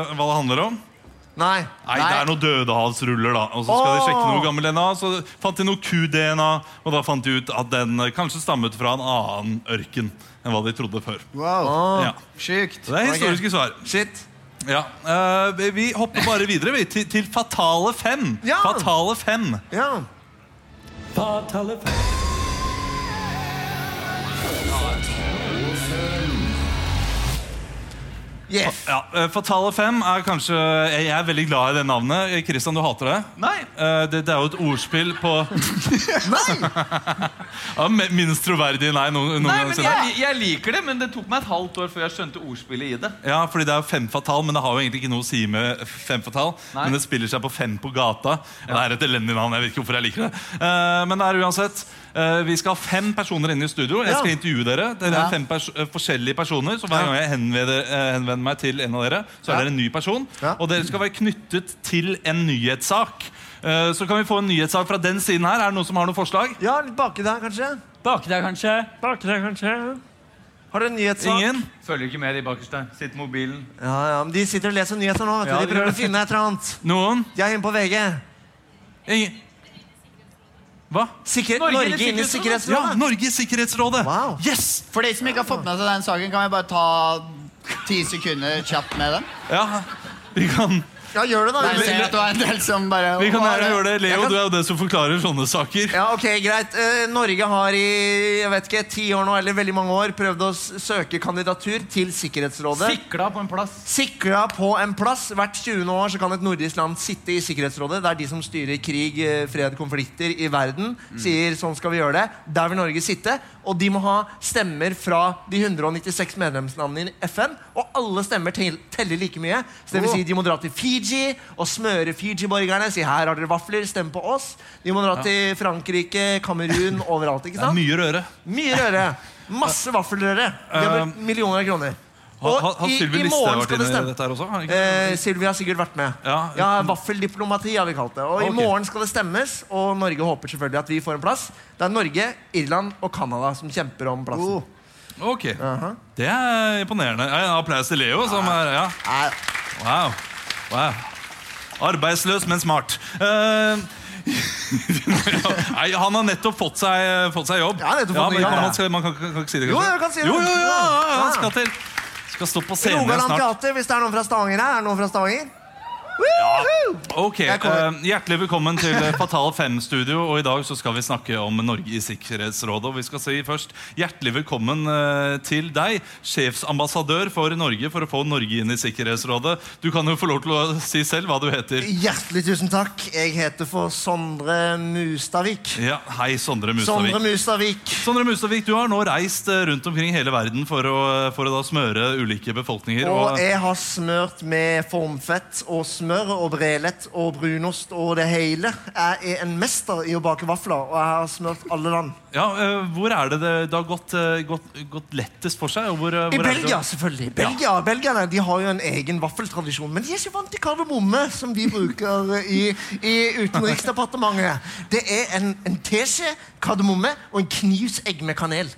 eh, hva det handler om?
Nei.
Nei, det er noen dødehavsruller, da. Og så skal de sjekke noe gammel DNA. Så fant de noe ku-DNA, og da fant de ut at den eh, kanskje stammet fra en annen ørken enn hva de trodde før.
Åh,
Ja.
Sjukt.
Så det er historiske svar.
Shit.
Ja. eh, vi- vi hopper bare videre vi, til, til Fatale fem.
Ja.
Fatale fem.
Ja.
Fatale fem.
Yeah.
Ja, eh, Fatale fem er kanskje Jeg er veldig glad i det navnet. Eh, Christian, du hater det?
Nei.
Eh, det, det er jo et ordspill på [laughs] ja, me- Minst troverdige nei noen, noen
Nei,
gang
men
siden.
jeg, jeg liker det, men det tok meg et halvt år før jeg skjønte ordspillet i det.
Ja, fordi det er jo fem fatal, men det har jo egentlig ikke noe å si med fem fatal.
Nei.
Men det spiller seg på fem på gata. Og det er et elendig navn. Jeg vet ikke hvorfor jeg liker det. Eh, men det er uansett. eh, vi skal ha fem personer inne i studio. Jeg skal
Ja.
intervjue dere. Dere er fem pers eh, forskjellige personer, så hver gang jeg henvender, eh, henvender meg til en av dere, så er dere en ny person.
Ja.
Og dere skal være knyttet til en nyhetssak. Eh, så kan vi få en nyhetssak fra den siden her. Er det noen som har noen forslag?
ja, litt baki der, kanskje?
Baki der, kanskje.
Har dere en nyhetssak?
Ingen?
Følger ikke med de bakerste. Sitter med mobilen.
Ja, ja, men De sitter og leser nyheter nå. vet du.
Ja,
De
de
prøver
gjør
å finne et eller annet.
Noen?
De er inne på VG.
Ingen? Hva?
Sikkerhet,
Norge
Norge,
i
inn i
Ja,
Sikkerhetsrådet.
Norge i Sikkerhetsrådet!
Wow.
Yes!
For de som ikke har fått med seg den saken, kan vi bare ta ti sekunder kjapt med den?
Ja, vi kan,
Ja, gjør det, da.
Nei, Jeg ser at det var en del som bare
vi kan
Hva er
gjerne gjøre det. Leo,
Jeg kan-
du er jo den som forklarer sånne saker.
Ja, ok, greit. Eh, Norge har i jeg vet ikke, ti år nå, eller veldig mange år prøvd å s- søke kandidatur til Sikkerhetsrådet.
Sikla på en plass.
Sikra på en plass. Hvert 20. år så kan et nordisk land sitte i Sikkerhetsrådet. Det er de som styrer krig, eh, fred, konflikter i verden. Sier sånn skal vi gjøre det. Der vil Norge sitte. Og de må ha stemmer fra de 196 medlemslandene i FN. Og alle stemmer tel teller like mye. Så det vil si de må dra til Fiji og smøre Fiji-borgerne. Si her har dere vafler, stem på oss. De må dra til Frankrike, Kamerun, overalt. ikke
Det er
sant?
mye røre.
Mye røre. Masse vaffelrøre. De har brukt millioner av kroner.
Har, Eh, har, har
i-
Sylvi
i
Listhaug
morgen
vært
skal det
inne i
stemme.
dette her også? Har ikke-
Eh, Sylvi har sikkert vært med.
Ja.
Vaffeldiplomati har vi kalt det. Og
Ok.
i morgen skal det stemmes, og Norge håper selvfølgelig at vi får en plass. Det er Norge, Irland og Canada som kjemper om plassen.
Ok. Det er imponerende. Ja, En applaus til Leo, som er ja.
Nei.
Wow. wow. Arbeidsløs, men smart. Eh, [laughs] Nei, han har nettopp fått seg, fått seg jobb.
Ja, nettopp fått
ja, men
ny jobb.
man, skal, man kan, kan, kan ikke si det,
Jo,
kanskje?
jeg kan si det.
Jo, jo, ja, ja, ja, han
Ja.
skal til. Skal stå på scenen igjen
Rogaland
snart.
Teater, hvis det er noen fra Stavanger her. Er det noen fra Stavanger?
Ok,
Jeg kommer.
eh, Hjertelig velkommen til eh, Fatal 5-studio. Og I dag så skal vi snakke om Norge i Sikkerhetsrådet. Og vi skal si først Hjertelig velkommen eh, til deg, sjefsambassadør for Norge for å få Norge inn i Sikkerhetsrådet. Du kan jo få lov til å si selv hva du heter.
Hjertelig tusen takk. Jeg heter for Sondre Mustavik.
Ja, Hei, Sondre Mustavik.
Sondre Mustavik.
Sondre Mustavik, du har nå reist eh, rundt omkring hele verden for å, eh, for å da smøre ulike befolkninger.
Og jeg har smørt med formfett og smør og brelett og brunost og det hele. Jeg er en mester i å bake vafler, og jeg har smørt alle land.
ja, eh, hvor er det det, det har gått, eh, gått, gått lettest for seg? Og hvor, eh,
I
hvor er det-
Belgia, selvfølgelig. Belgia, Belgierne de har jo en egen vaffeltradisjon. Men de er ikke vant til kardemomme, som vi bruker i, i Utenriksdepartementet. Det er en, en teskje kardemomme og en knivs egg med kanel.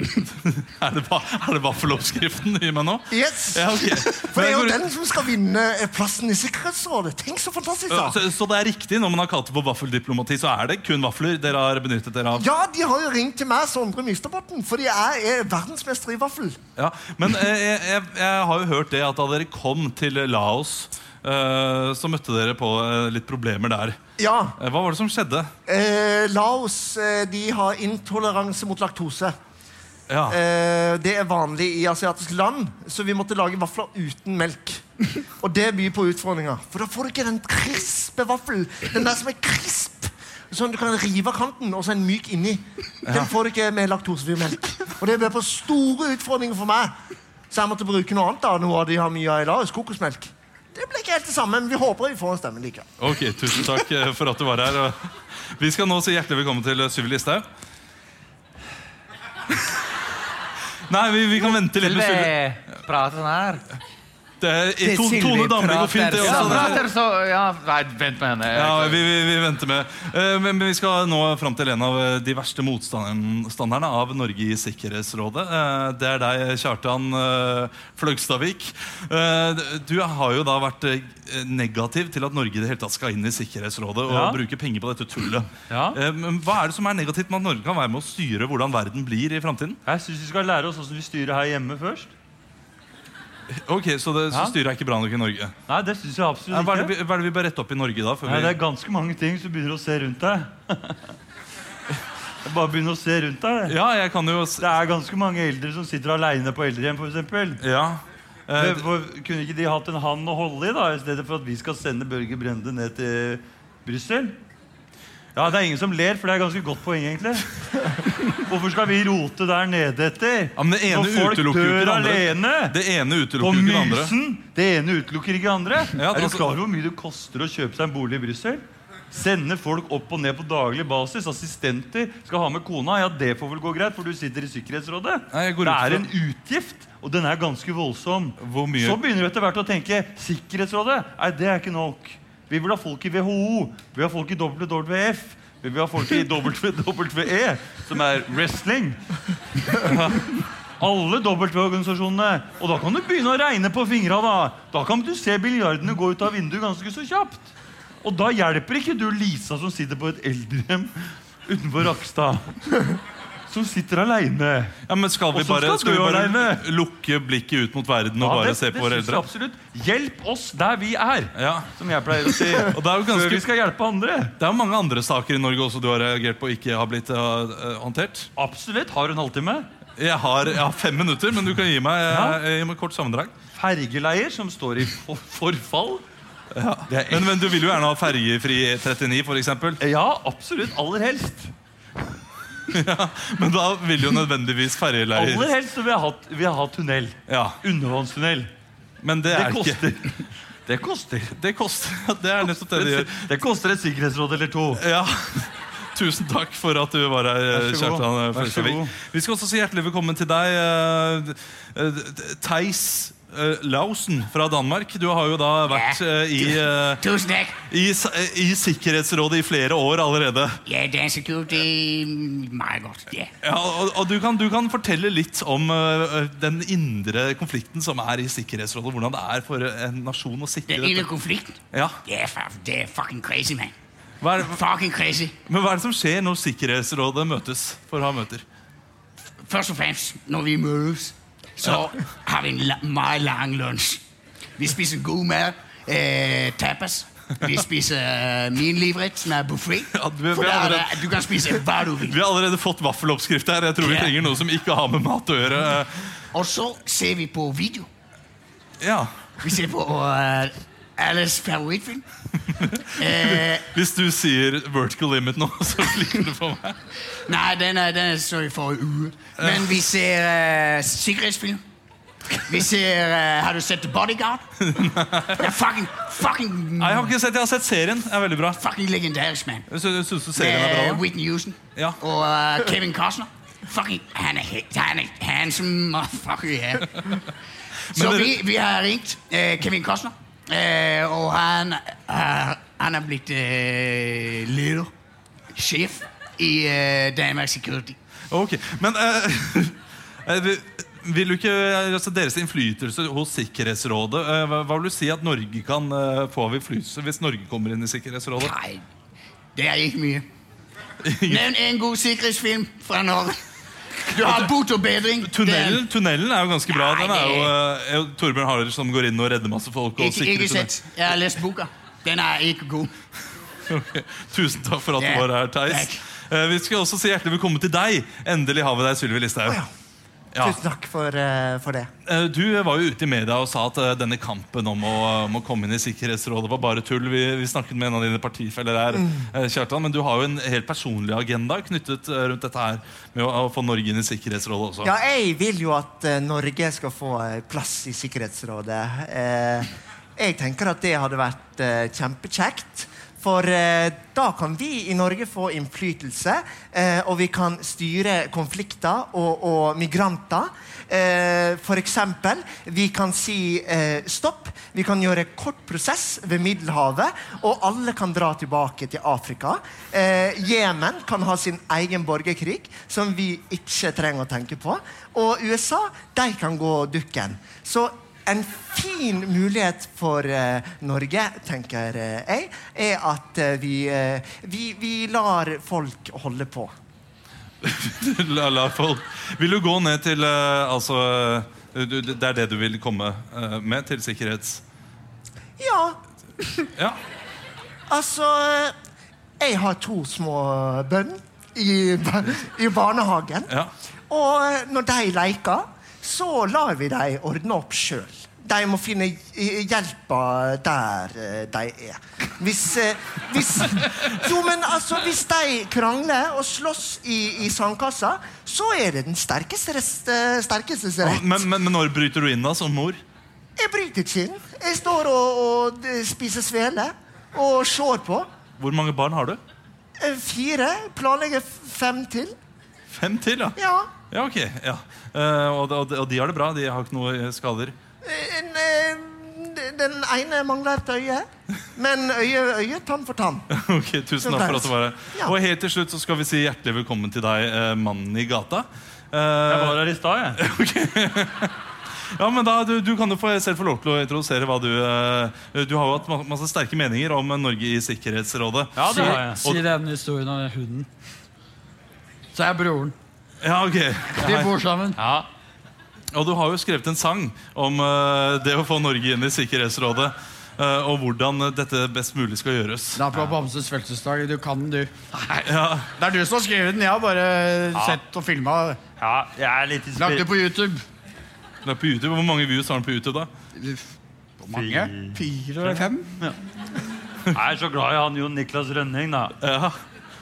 Er det, va- er det vaffeloppskriften du gir meg nå?
Yes!
Ja, ok.
[laughs] For
Men
det er jo
jeg går-
den altså. som skal vinne eh, plassen i Sikkerhetsrådet. Tenk så fantastisk,
Ja,
da!
så, så det er riktig når man har kalt det for vaffeldiplomati, så er det kun vafler dere har benyttet dere av?
Ja, de har jo ringt til meg, Sondre Mystadbotn, fordi jeg er verdensmester i vaffel.
Ja, Men eh, jeg, jeg, jeg har jo hørt det at da dere kom til Laos, eh, så møtte dere på eh, litt problemer der.
Ja,
Eh, Hva var det som skjedde?
eh, Laos eh, de har intoleranse mot laktose.
Ja,
Eh, det er vanlig i asiatiske land, så vi måtte lage vafler uten melk. Og det byr på utfordringer. For da får du ikke den krispe vaffelen. Den der som er krisp. Sånn du kan rive av kanten og så en myk inni. Den får du ikke med laktosefri melk. Og det ble på store utfordringer for meg. Så jeg måtte bruke noe annet. da, Noe av de har mye av i dag, er kokosmelk. Det ble ikke helt det samme, men vi håper vi får en stemme likevel.
Ok, Tusen takk eh, for at du var her. og Vi skal nå si hjertelig velkommen til eh, Syvi Listhaug. Nei, vi, vi kan vente litt med Syvi.
Prater sånn her.
Det er,
Det er
to,
Sylvi
Tone Damli går fint, det
Ja,
også.
prater så Ja, nei, vent med henne.
Ja, vi, vi, vi venter med. Eh, Men men vi skal nå fram til en av eh, de verste motstanderne av Norge i Sikkerhetsrådet. Eh, Det er deg, Kjartan eh, Fløgstadvik. Eh, Du har jo da vært eh, negativ til at Norge i det hele tatt skal inn i Sikkerhetsrådet og
Ja.
bruke penger på dette tullet.
Ja.
Eh, Men hva er det som er negativt med at Norge kan være med å styre hvordan verden blir i framtiden?
Jeg syns vi skal lære oss hvordan vi styrer her hjemme først.
Ok, så, det- så
Ja.
styret er ikke bra nok i Norge. Eh,
Nei, det synes jeg absolutt
Hva er det,
ikke.
vi- hva er det vi bør rette opp i Norge da? Før
Nei, det er
vi...
ganske mange ting som begynner å se rundt deg. [laughs] Bare begynn å se rundt deg.
Ja, jeg kan jo... s-
Det er ganske mange eldre som sitter aleine på eldrehjem, f.eks.
Ja. Eh,
Kunne ikke de hatt en hand å holde i, da, i stedet for at vi skal sende Børge Brende ned til Brussel? Ja, det er ingen som ler, for det er ganske godt poeng,
[laughs]
egentlig. Hvorfor skal vi rote der nede etter?
Ja, men det ene
Når folk
utelukker jo ikke det
dør
andre.
alene
Det ene
på
utelukker jo ikke det andre.
Mysen Det ene utelukker ikke det andre.
Ja,
er du
altså-
klar over hvor mye det koster å kjøpe seg en bolig i Brussel? Sende folk opp og ned på daglig basis. Assistenter skal ha med kona. Ja, det får vel gå greit, for du sitter i Sikkerhetsrådet.
Nei, jeg går
det
ut fra-
er en utgift, og den er ganske voldsom.
Hvor mye-
Så begynner du etter hvert å tenke Sikkerhetsrådet, nei, det er ikke nok. Vi vil ha folk i WHO. Vi vil ha folk i WWF. Vi vil ha
[laughs]
folk i WWE, som er wrestling. Alle W-organisasjonene. Og da kan du begynne å regne på fingra. Da Da kan du se biljardene gå ut av vinduet ganske så kjapt. Og da hjelper ikke du Lisa som sitter på et eldrehjem utenfor
[laughs]
Rakstad. Som sitter aleine.
Ja, men skal vi
Og så
bare,
skal
skal vi
du
bare
alene.
lukke blikket ut mot verden og bare se på våre eldre?
absolutt. Hjelp oss der vi er,
Ja.
som jeg pleier å si.
Og det er jo
Før
[laughs]
vi
ganske,
skal hjelpe andre.
det er jo mange andre saker i Norge også du har reagert på og ikke har blitt eh, håndtert.
Absolutt. Har du en halvtime?
Jeg har, jeg har fem minutter, men du kan gi meg, eh, gi meg kort sammendrag.
Fergeleier som står i for- forfall. Det er
Men, men du vil jo gjerne ha fergefri 39, f.eks.
Ja, absolutt. Aller helst.
Men da vil jo nødvendigvis fergeleier
Aller helst så vil jeg ha, vil jeg ha tunnel.
ja.
Undervannstunnel.
Men det
Det
er ikke
koster. [laughs] Det koster.
Det koster. [laughs] Det er nettopp det det gjør.
Det koster et sikkerhetsråd eller to.
Ja. [laughs] Tusen takk for at du var her,
Vær så god.
Kjartan eh,
Vær så
Fløgstadvik.
god.
Vi skal også si hjertelig velkommen til deg, eh, eh, Theis eh, Lausen fra Danmark. Du har jo da vært eh, i, eh,
Tusen takk.
i, s- eh, i Sikkerhetsrådet i flere år allerede.
Ja, Dan Security Meget godt. Ja.
Ja, og og du, kan, du kan fortelle litt om eh, den indre konflikten som er i Sikkerhetsrådet. Hvordan det er for en nasjon å sitte
Den
i
ene
dette.
konflikten.
Ja.
Det er, fa- det er fucking crazy, man.
Hva er,
Fucking crazy.
men hva er det som skjer når Sikkerhetsrådet møtes for å ha møter?
Først og fremst, når vi mødes, så har vi en la meget lang lunsj. Vi spiser god mad, eh, tapas. Vi spiser øh, min livret, som er buffet.
Ja, du- vi
For der
har
er
allerede-
der- du kan spise hva du vil.
Vi har allerede fått vaffeloppskrift her. Jeg tror vi
Ja.
trenger noe som ikke har med mat å gjøre.
Og så ser vi på video.
Ja.
Vi ser på øh, alles favorittfilm. Eh,
Hvis du sier 'vertical limit' nå, [laughs] så klikker du på meg.
nej, den er, den er så i forrige uge. Men vi ser øh, sikkerhedsfilm. Vi ser, øh, har du set The Bodyguard? Det er fucking, fucking,
Nei, Jeg har ikke sett, jeg har sett serien. Det er veldig bra.
fucking legendarisk, mand.
Jeg sy- Syns du serien er
med
Eh,
bra? da?
Whitney Houston
Ja.
og øh, Kevin Costner. Fucking, han er, he- han er handsome motherfucker, ja. Så
Men
vi,
dere-
vi har ringt
eh,
øh, Kevin Costner, øh, og han, øh, han er blitt øh, leder, sjef i øh, Danmark Security.
Ok, Men eh, [laughs] eh, vi- vil du ikke, altså Deres innflytelse hos Sikkerhetsrådet eh, Hva hva vil du si at Norge kan eh, få av innflytelse hvis Norge kommer inn i Sikkerhetsrådet?
Nej, det er ikke mye. Nævn en god sikkerhedsfilm fra Norge. Du har bot og bedring.
Tunnelen, tunnelen er jo ganske bra. Den er
Nei,
jo eh, jo Torbjørn Harer som går inn og redder masse folk.
Den,
Og
ikke,
sikrer
ikke
tunnel.
sett. Jeg har lest boka. Den er ikke god.
[laughs] Tusen takk for at du
Ja.
var her, Theis.
Takk.
Eh, Vi skal også si hjertelig velkommen til deg. Endelig har vi deg, Sylvi Listhaug. Ja.
Tusen takk for, eh, for det.
Eh, Du var jo ute i media og sa at eh, denne kampen om å, om å komme inn i Sikkerhetsrådet var bare tull. Vi, vi snakket med en av dine partifeller her, eh, Kjartan, men du har jo en helt personlig agenda knyttet eh, rundt dette her med å, å få Norge inn i Sikkerhetsrådet også.
Ja, jeg vil jo at eh, Norge skal få eh, plass i Sikkerhetsrådet. Eh, jeg tenker at det hadde vært eh, kjempekjekt. For eh, da kan vi i Norge få innflytelse, eh, og vi kan styre konflikter og, og migranter. Eh, for eksempel, vi kan si eh, stopp. Vi kan gjøre kort prosess ved Middelhavet, og alle kan dra tilbake til Afrika. Eh, Jemen kan ha sin egen borgerkrig, som vi ikke trenger å tenke på. Og USA, de kan gå dukken. Så en fin mulighet for eh, Norge, tenker eh, jeg, er at eh, vi, eh, vi, vi lar folk holde på.
[laughs] La, la folk. Vil du gå ned til eh, Altså, eh, du, det er det du vil komme eh, med til sikkerhets...
Ja,
Ja.
Altså Jeg har to små bønn i, i barnehagen.
Ja.
Og når de leker, så lar vi dem ordne opp sjøl. De må finne hj- hjelpa der eh, de er. Hvis, eh, hvis Jo, men altså, hvis de krangler og slåss i, i sandkassa, så er det den sterkeste rest, eh, sterkestes rett.
Men, men, men når bryter du inn da, som mor?
Jeg bryter ikke inn. Jeg står og, og eh, spiser svele og ser på.
Hvor mange barn har du?
Eh, Fire. Planlegger f- fem til.
Fem til, ja.
Ja.
Ja, ok. Ja. Eh, og, de- og, de- og de har det bra? De har ikke noe eh, skader?
Eh, En, eh, den ene mangler et øye. Men øye, øye, tann for
[laughs]
tann.
Ok, Tusen takk for at du var her.
Ja.
Og helt til slutt så skal vi si hjertelig velkommen til deg, eh, mannen i gata. Eh,
Jeg var her i stad, jeg.
ja, men da, du, du kan jo få, selv få lov til å introdusere hva du eh, Du har jo hatt ma- masse sterke meninger om eh, Norge i Sikkerhetsrådet.
Ja, det har
Si,
jeg.
si den historien om den hunden. Så er broren.
Ja, ok.
De bor sammen.
Ja.
Og du har jo skrevet en sang om eh, det å få Norge inn i Sikkerhetsrådet. eh, og hvordan dette best mulig skal gjøres.
Det er på Bamses fødselsdag. Du kan den, du.
[laughs] Ja,
Det er du som har skrevet den. Jeg har bare sett og filma.
ja, jeg er litt
Lagt det
inspirert.
på YouTube.
det er på YouTube. Hvor mange views har den på YouTube, da?
Hvor mange? Fire eller fem?
Jeg er så glad i han Jon Niklas Rønning, da.
Ja.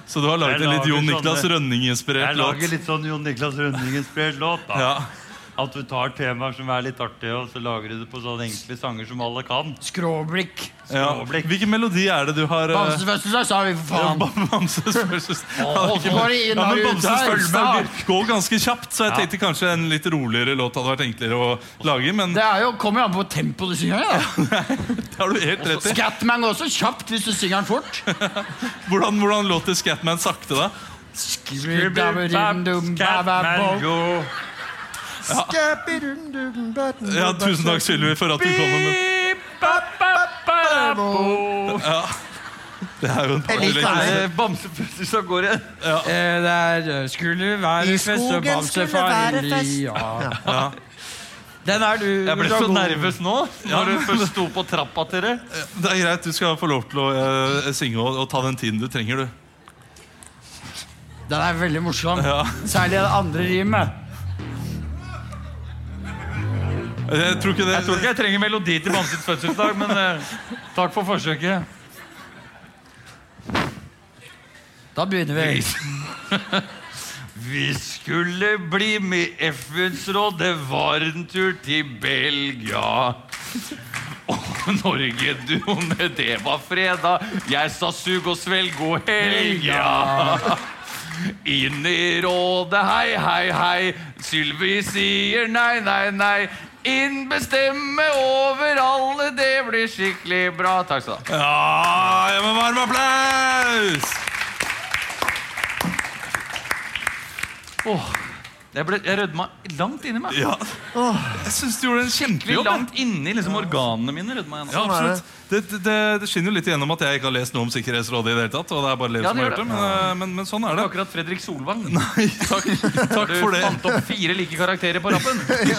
Så du har laget
Jeg
en litt
lager
Jon Niklas
sånne-
Rønning-inspirert
Jeg lager
låt?
litt sånn Jon Niklas Rønning-inspirert låt. da.
Ja.
At du tar temaer som er litt artige, og så lager du det på sånne enkle sanger som alle kan.
Skråblikk.
Ja.
Skråblikk.
Hvilken melodi er det du har eh, [laughs]
Bamses fødselsdag, sa vi, for faen.
Bam- Bamses versus
så var det
Ja,
inn
men
og ut
Bamses
der,
Følsberg går ganske kjapt, så jeg
Ja.
tenkte kanskje en litt roligere låt hadde vært enklere å lage. Men
Det er jo, kommer jo an på tempoet du synger. Ja.
det har du helt rett i.
Scatman går også kjapt hvis du synger den fort.
Hvordan, hvordan låter Scatman sakte, da?
Scatman
Skrubbababababo.
Go.
Ja, Tusen takk, Sylvi, for at du kom. Med.
Ba-ba-ba-bo.
Det er jo en
Jeg liker
parallell.
det.
Eh, Bamsefødsel som går igjen.
Eh, det er eh, Skulle være
I
fest og
skogen
bamse
skulle være fest.
farlig ja. Den er du
Jeg ble
du er
så
god.
nervøs nå når du først sto på trappa til det.
Det er greit, du skal få lov til å eh, synge og, og ta den tiden du trenger, du.
Den er veldig morsom. Særlig det andre rimet.
Jeg tror ikke det
Jeg tror ikke jeg trenger melodi til Bamses fødselsdag, men eh, takk for forsøket.
Da begynner vi.
Vi skulle bli med i FNs råd, det var en tur til Belgia. Og Norge, du, men det var fredag. Jeg sa sug og svelg, god helga. Inn i rådet, hei, hei, hei. Sylvi sier nei, nei, nei. Inn bestemme over alle, det blir skikkelig bra. Takk skal du ha.
Ja, jeg må varme applaus!
Åh, jeg, ble, jeg rødma langt inni meg.
Ja. Jeg syns du gjorde en
Skikkelig
kjempejobb. jeg.
langt inni liksom, organene mine rødma jeg nå.
Ja, absolutt. Det, det- det, det skinner jo litt igjennom at jeg ikke har lest noe om Sikkerhetsrådet. i det hele tatt, og det er bare Lev
Ja,
som
det
har
gjør
gjort det,
det.
men, eh, men, men sånn er
Det
det.
var akkurat Fredrik Solvang.
Nei, takk, takk
du
for det.
fant opp fire like karakterer på
[laughs]
rappen. Det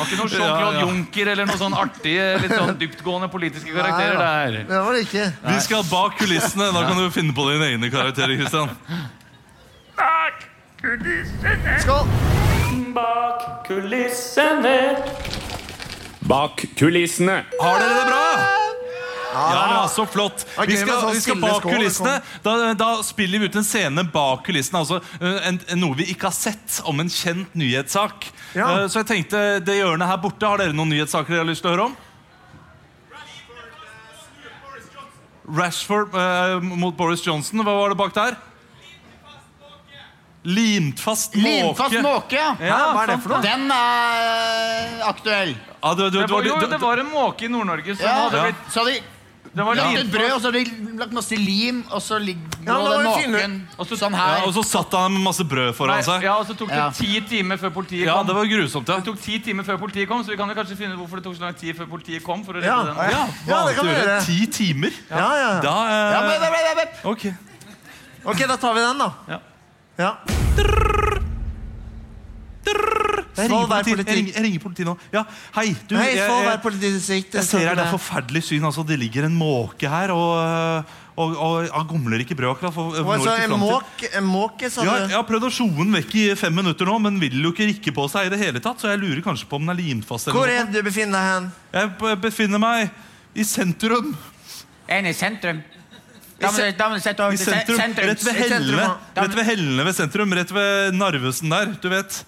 var ikke noe
Ja,
Jean-Claude
ja.
Juncker eller noen sånn artige, litt sånn dyptgående politiske karakterer
Nei,
der.
Det var det ikke.
Vi skal bak kulissene. Da kan du finne på dine egne karakterer. Kristian.
Takk!
Bak kulissene.
Bak kulissene.
Har dere det bra? Ja, så flott.
var
Vi
gøy med
skal,
sånn
vi skal
stille
bak
skål,
kulissene. Da, da spiller vi ut en scene bak kulissene. Altså eh, en, en, noe vi ikke har sett om en kjent nyhetssak.
Ja.
Eh, Så jeg tenkte, det hjørnet her borte, har dere noen nyhetssaker dere har lyst til å høre om? Rashford eh, mot Boris Johnson. Hva var det bak der? Limt fast måke.
Limfast måke, ja.
Ja,
Hva er det for noe?
Den er aktuell.
Ja, du, du,
Det
du,
var,
du,
jo,
du,
det var en måke i Nord-Norge som
Ja,
hadde blitt
Så har de
det var
lagt
limt
et brød, og så har de lagt masse lim, og så ligger
Ja,
nå
da
den
må vi finne-
måken sånn
ja,
her.
og så satt han med masse brød foran
Nei,
seg.
ja, og så tok det
Ja.
ti timer før politiet
Ja,
kom.
det var grusomt, ja.
Det tok ti timer før politiet kom, så vi kan jo kanskje finne ut hvorfor det tok så lang tid før politiet kom. for å redde
Ja.
den.
Ja,
Ja, det kan
vanlig å
vi
gjøre.
gjøre.
Ti timer?
Ja, ja, ja.
Da eh,
Ja, men- men- men- men-
Ok.
Ok, da tar vi den, da.
Ja.
Ja.
Jeg ringer,
Svolvær
politi. jeg,
politi.
ringer, jeg ringer politiet nå. Ja, hei, du,
Hei,
jeg,
Svolvær
jeg,
politidistrikt.
jeg ser her det er forferdelig syn. Altså, det ligger en måke her, og, øh, og, og han gomler ikke brød akkurat. For, for
Og
når
så
ikke
en
fram til.
måk, en måke, sa
Jeg har,
du?
jeg har prøvd å sjo den vekk i fem minutter nå, men vil jo ikke rikke på seg i det hele tatt, så jeg lurer kanskje på om den er limt fast.
Hvor
Eller noe.
er det du befinner deg hen?
Jeg b- befinner meg i sentrum.
Jeg er inne i sentrum. Da må, du- da må du sette over
I
til se-
sentrum.
sentrum.
Rett ved
I sentrum,
hellene.
ja. Da må-
Rett ved hellene ved sentrum. Rett ved Narvesen der, du vet.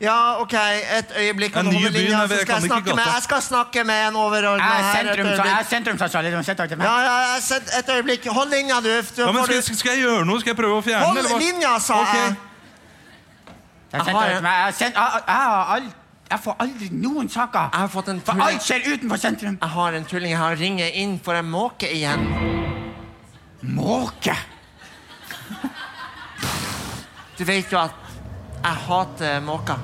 Ja, ok, et øyeblikk.
En
nå
ny
holder
by,
linja,
nei, jeg
så skal
kan
jeg,
ikke
snakke med,
gata.
jeg skal snakke med en overordnet
Jeg er
her. Et
sentrum, så, jeg er
øyeblikk.
sentrumsansvarlig. Du må sette over til meg.
Ja, ja, jeg sett- et øyeblikk. Hold linja, du. du
Ja, men
får
skal,
du-
jeg- skal jeg gjøre noe? Skal jeg prøve å fjerne den?
Hold
eller hva?
linja, sa
Ok.
jeg.
Jeg, er sentrumsansvarlig. jeg, er sent- jeg, jeg, har ald- jeg får aldri noen saker.
Jeg har fått en
For
tulling.
alt skjer utenfor sentrum.
Jeg har en tulling. Jeg har ringet inn for en måke igjen.
Måke!
Du vet jo at jeg hater måker.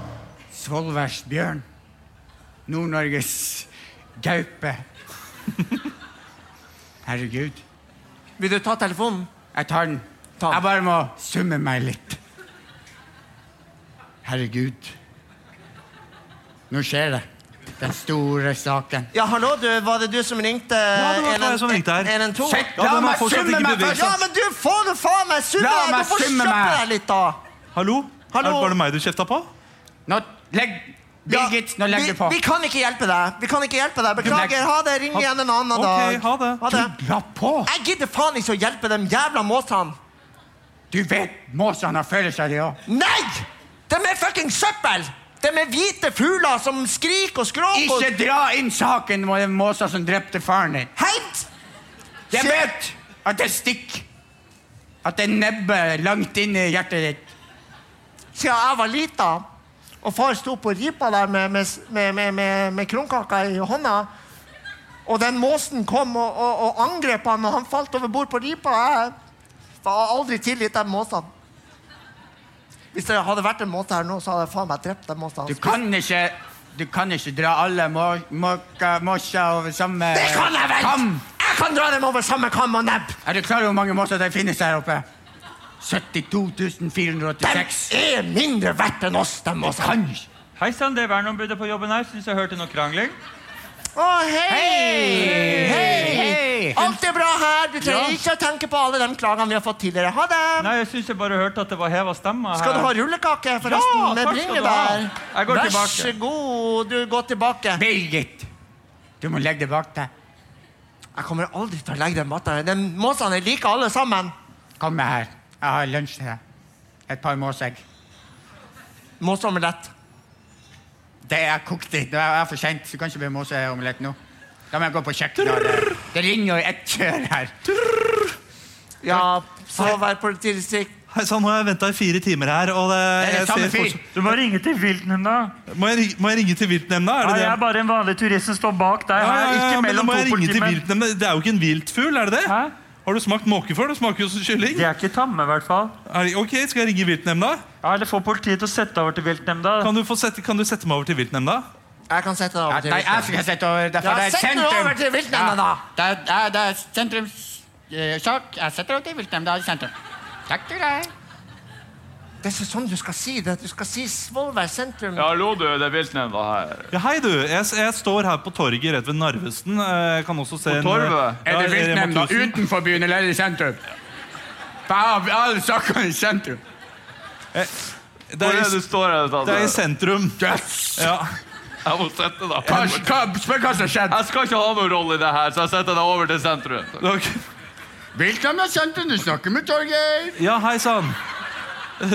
Svolværs bjørn. Nord-Norges
[laughs]
gaupe. Herregud.
Vil du ta telefonen?
Jeg tar den.
Ta den.
Jeg bare må summe meg litt. Herregud. Nå skjer det. Den store saken.
Ja, hallo, du. Var det du som ringte?
det var jeg som ringte her.
112?
Shit,
Ja,
la
den har
meg
fortsatt
summe
ikke
meg
beveget
først!
Ja, men du, får du faen meg summe
La
deg?
meg
Du får
summe
kjøpe
meg.
deg litt, da.
Hallo?
Hallo?
Er- Var det meg du kjefta på?
Nå legg Birgit, nå legger
vi,
du på.
vi kan ikke hjelpe deg. Vi kan ikke hjelpe deg. Beklager.
Legg-
Ha det. Ring igjen en annen
Ok,
dag.
ha det.
La på!
Jeg gidder faen ikke å hjelpe de jævla måsene.
Du vet måsene har følelser, de òg.
Nei! De er fucking søppel! De er hvite fugler som skriker og skråker.
Ikke dra inn saken med den måsa som drepte faren din.
Hent!
Jeg vet at det stikker. At det er nebbe langt inn i hjertet ditt.
Siden jeg var lita, og far sto på ripa der med, med, med, med, med, med kronkaka i hånda, og den måsen kom og, og, og angrep han, og han falt over bord på ripa. Jeg har aldri tilgitt de måsene. Hvis det hadde vært en måte her nå, så hadde jeg faen meg drept de
Du
måsene.
kan ikke, du kan ikke dra alle må- måka- måser over samme
Det kan jeg vel!
kam.
Jeg kan dra dem over samme kam og nebb!
Er du klar over hvor mange måser det finnes her oppe?
De
72.486.
er mindre verdt enn oss, de måsene.
Hei sann, det er verneombudet på jobben her. Syns jeg hørte noe krangling.
Å, hei!
Hei!
Alt er bra her. Du trenger ikke å tenke på alle de klagene vi har fått tidligere. Ha det!
Nei, jeg syns jeg bare hørte at det var heva stemma her.
Skal du ha rullekake forresten
Ja,
med
takk skal du ha.
bringebær?
Jeg går
Vær
tilbake.
så god, du går tilbake.
Birgit, du må legge det bak deg.
Jeg kommer aldri til å legge den matta her. Den måsene er like alle sammen.
Kom med her. Jeg har lunsj til deg. Et par måsegg.
Måseomelett.
Det er kokt i. Det er for sent. Du kan ikke bli måseomelett nå. Da må jeg gå på kjøkkenet. og Det, det ringer jo et kjør her.
Ja, så vær politidistrikt.
Hei sann, nå har jeg venta i fire timer her, og det,
Det er
jeg
det samme
ser
fyr.
fortsatt-
Du må ringe til viltnemnda.
må, jeg, ringe- må jeg ringe til viltnemnda? Er
Ja, jeg
det det?
er bare en vanlig turist som står bak deg.
Ja,
her.
ja, ja,
Ikke
men da
mellom
må
to
jeg ringe til
politimenn.
viltnemnda. Det er jo ikke en viltfugl, er det det?
Hæ?
Har du smakt måke før? Det smaker jo som kylling.
De er ikke tamme, i hvert fall.
Er det- ok, Skal jeg ringe viltnemnda?
Ja, eller få politiet til å sette deg over til viltnemnda.
Kan du, få sette, kan du sette meg over til viltnemnda?
Jeg kan sette den over til
Nei, jeg
viltnemnda.
skal sette over. Derfor
Ja,
det er
sett den
sentrum.
over til viltnemnda, da.
Det er, det er, det er sentrumssak. Eh, Jeg setter det til viltnemnda i sentrum. Takk til deg.
Det er ikke sånn du skal si det. Du skal si Svolvær sentrum.
Hallo, du. Det er viltnemnda her.
Ja, hei, du. Jeg, s- jeg står her på torget rett ved Narvesen. Eh, Jeg kan også se en-
torvet?
eh,
Ja,
Er det
Rema
viltnemnda
1000.
utenfor byen eller er det i sentrum? Faen, alle saker i sentrum.
Eh, Det
Hvor
er,
er det
i,
du står her? Tante?
det er i sentrum. Ja.
Jeg må sette deg.
Spør hva som har skjedd.
Jeg skal ikke ha noen rolle i det her, så jeg setter deg over til sentrum.
Ok.
Velkommen, Santen. Du snakker med Torgeir.
Ja, hei sann.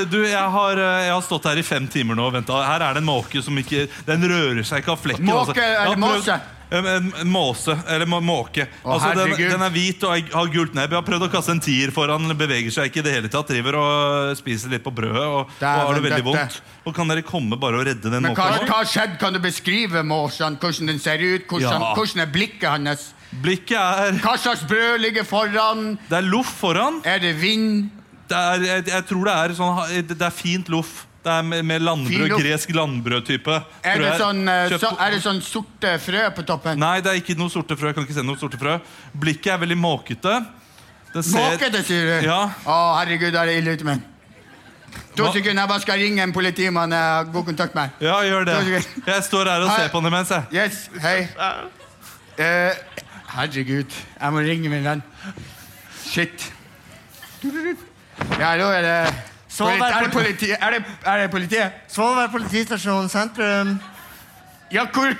Du, jeg har, eh, jeg har stått her i fem timer nå og venta. Her er det en måke som ikke Den rører seg ikke av flekken.
Måke,
altså. Jeg har
eller
prøvd-
måse?
En, en, en måse. Eller må- måke.
Å,
altså, den,
herregud.
den er hvit og har- har gult nebb. Jeg har prøvd å kaste en tier foran, beveger seg ikke i det hele tatt. Driver og spiser litt på brødet og, og
Dæven
har det veldig
døtte.
vondt. Og kan dere komme bare og redde den
Men hva
måka? nå?
hva har skjedd? Kan du beskrive måsen? Hvordan den ser ut? Hvordan,
Ja.
hvordan er blikket hans?
Blikket er
Hva slags brød ligger foran?
Det er loff foran.
Er det vind?
Det er, jeg, jeg tror det er sånn Det er fint loff. Det er med, med
Fin
landbrød,
loff.
gresk landbrødtype.
Er
tror
det
jeg.
sånn, eh,
Kjøpt
så,
på-
er det sånn sorte frø på toppen?
Nei, det er ikke noe sorte frø. Jeg kan ikke se noe sorte frø. Blikket er veldig måkete. Den ser-
Måkete, sier du?
Ja.
Å, herregud, da er det ille ute med den. To
Hva-
sekunder, jeg bare skal ringe en politimann jeg har god kontakt med.
Ja, gjør det.
Torgeir.
Jeg står her og
Hei.
ser på den imens, jeg.
Yes, hei. Eh, herregud, jeg må ringe min venn. Shit. Ja, nå er det
Så
Polit-
vær-
er, det politi, er, det, er det politiet?
Svolvær politistasjon sentrum.
Ja, hvor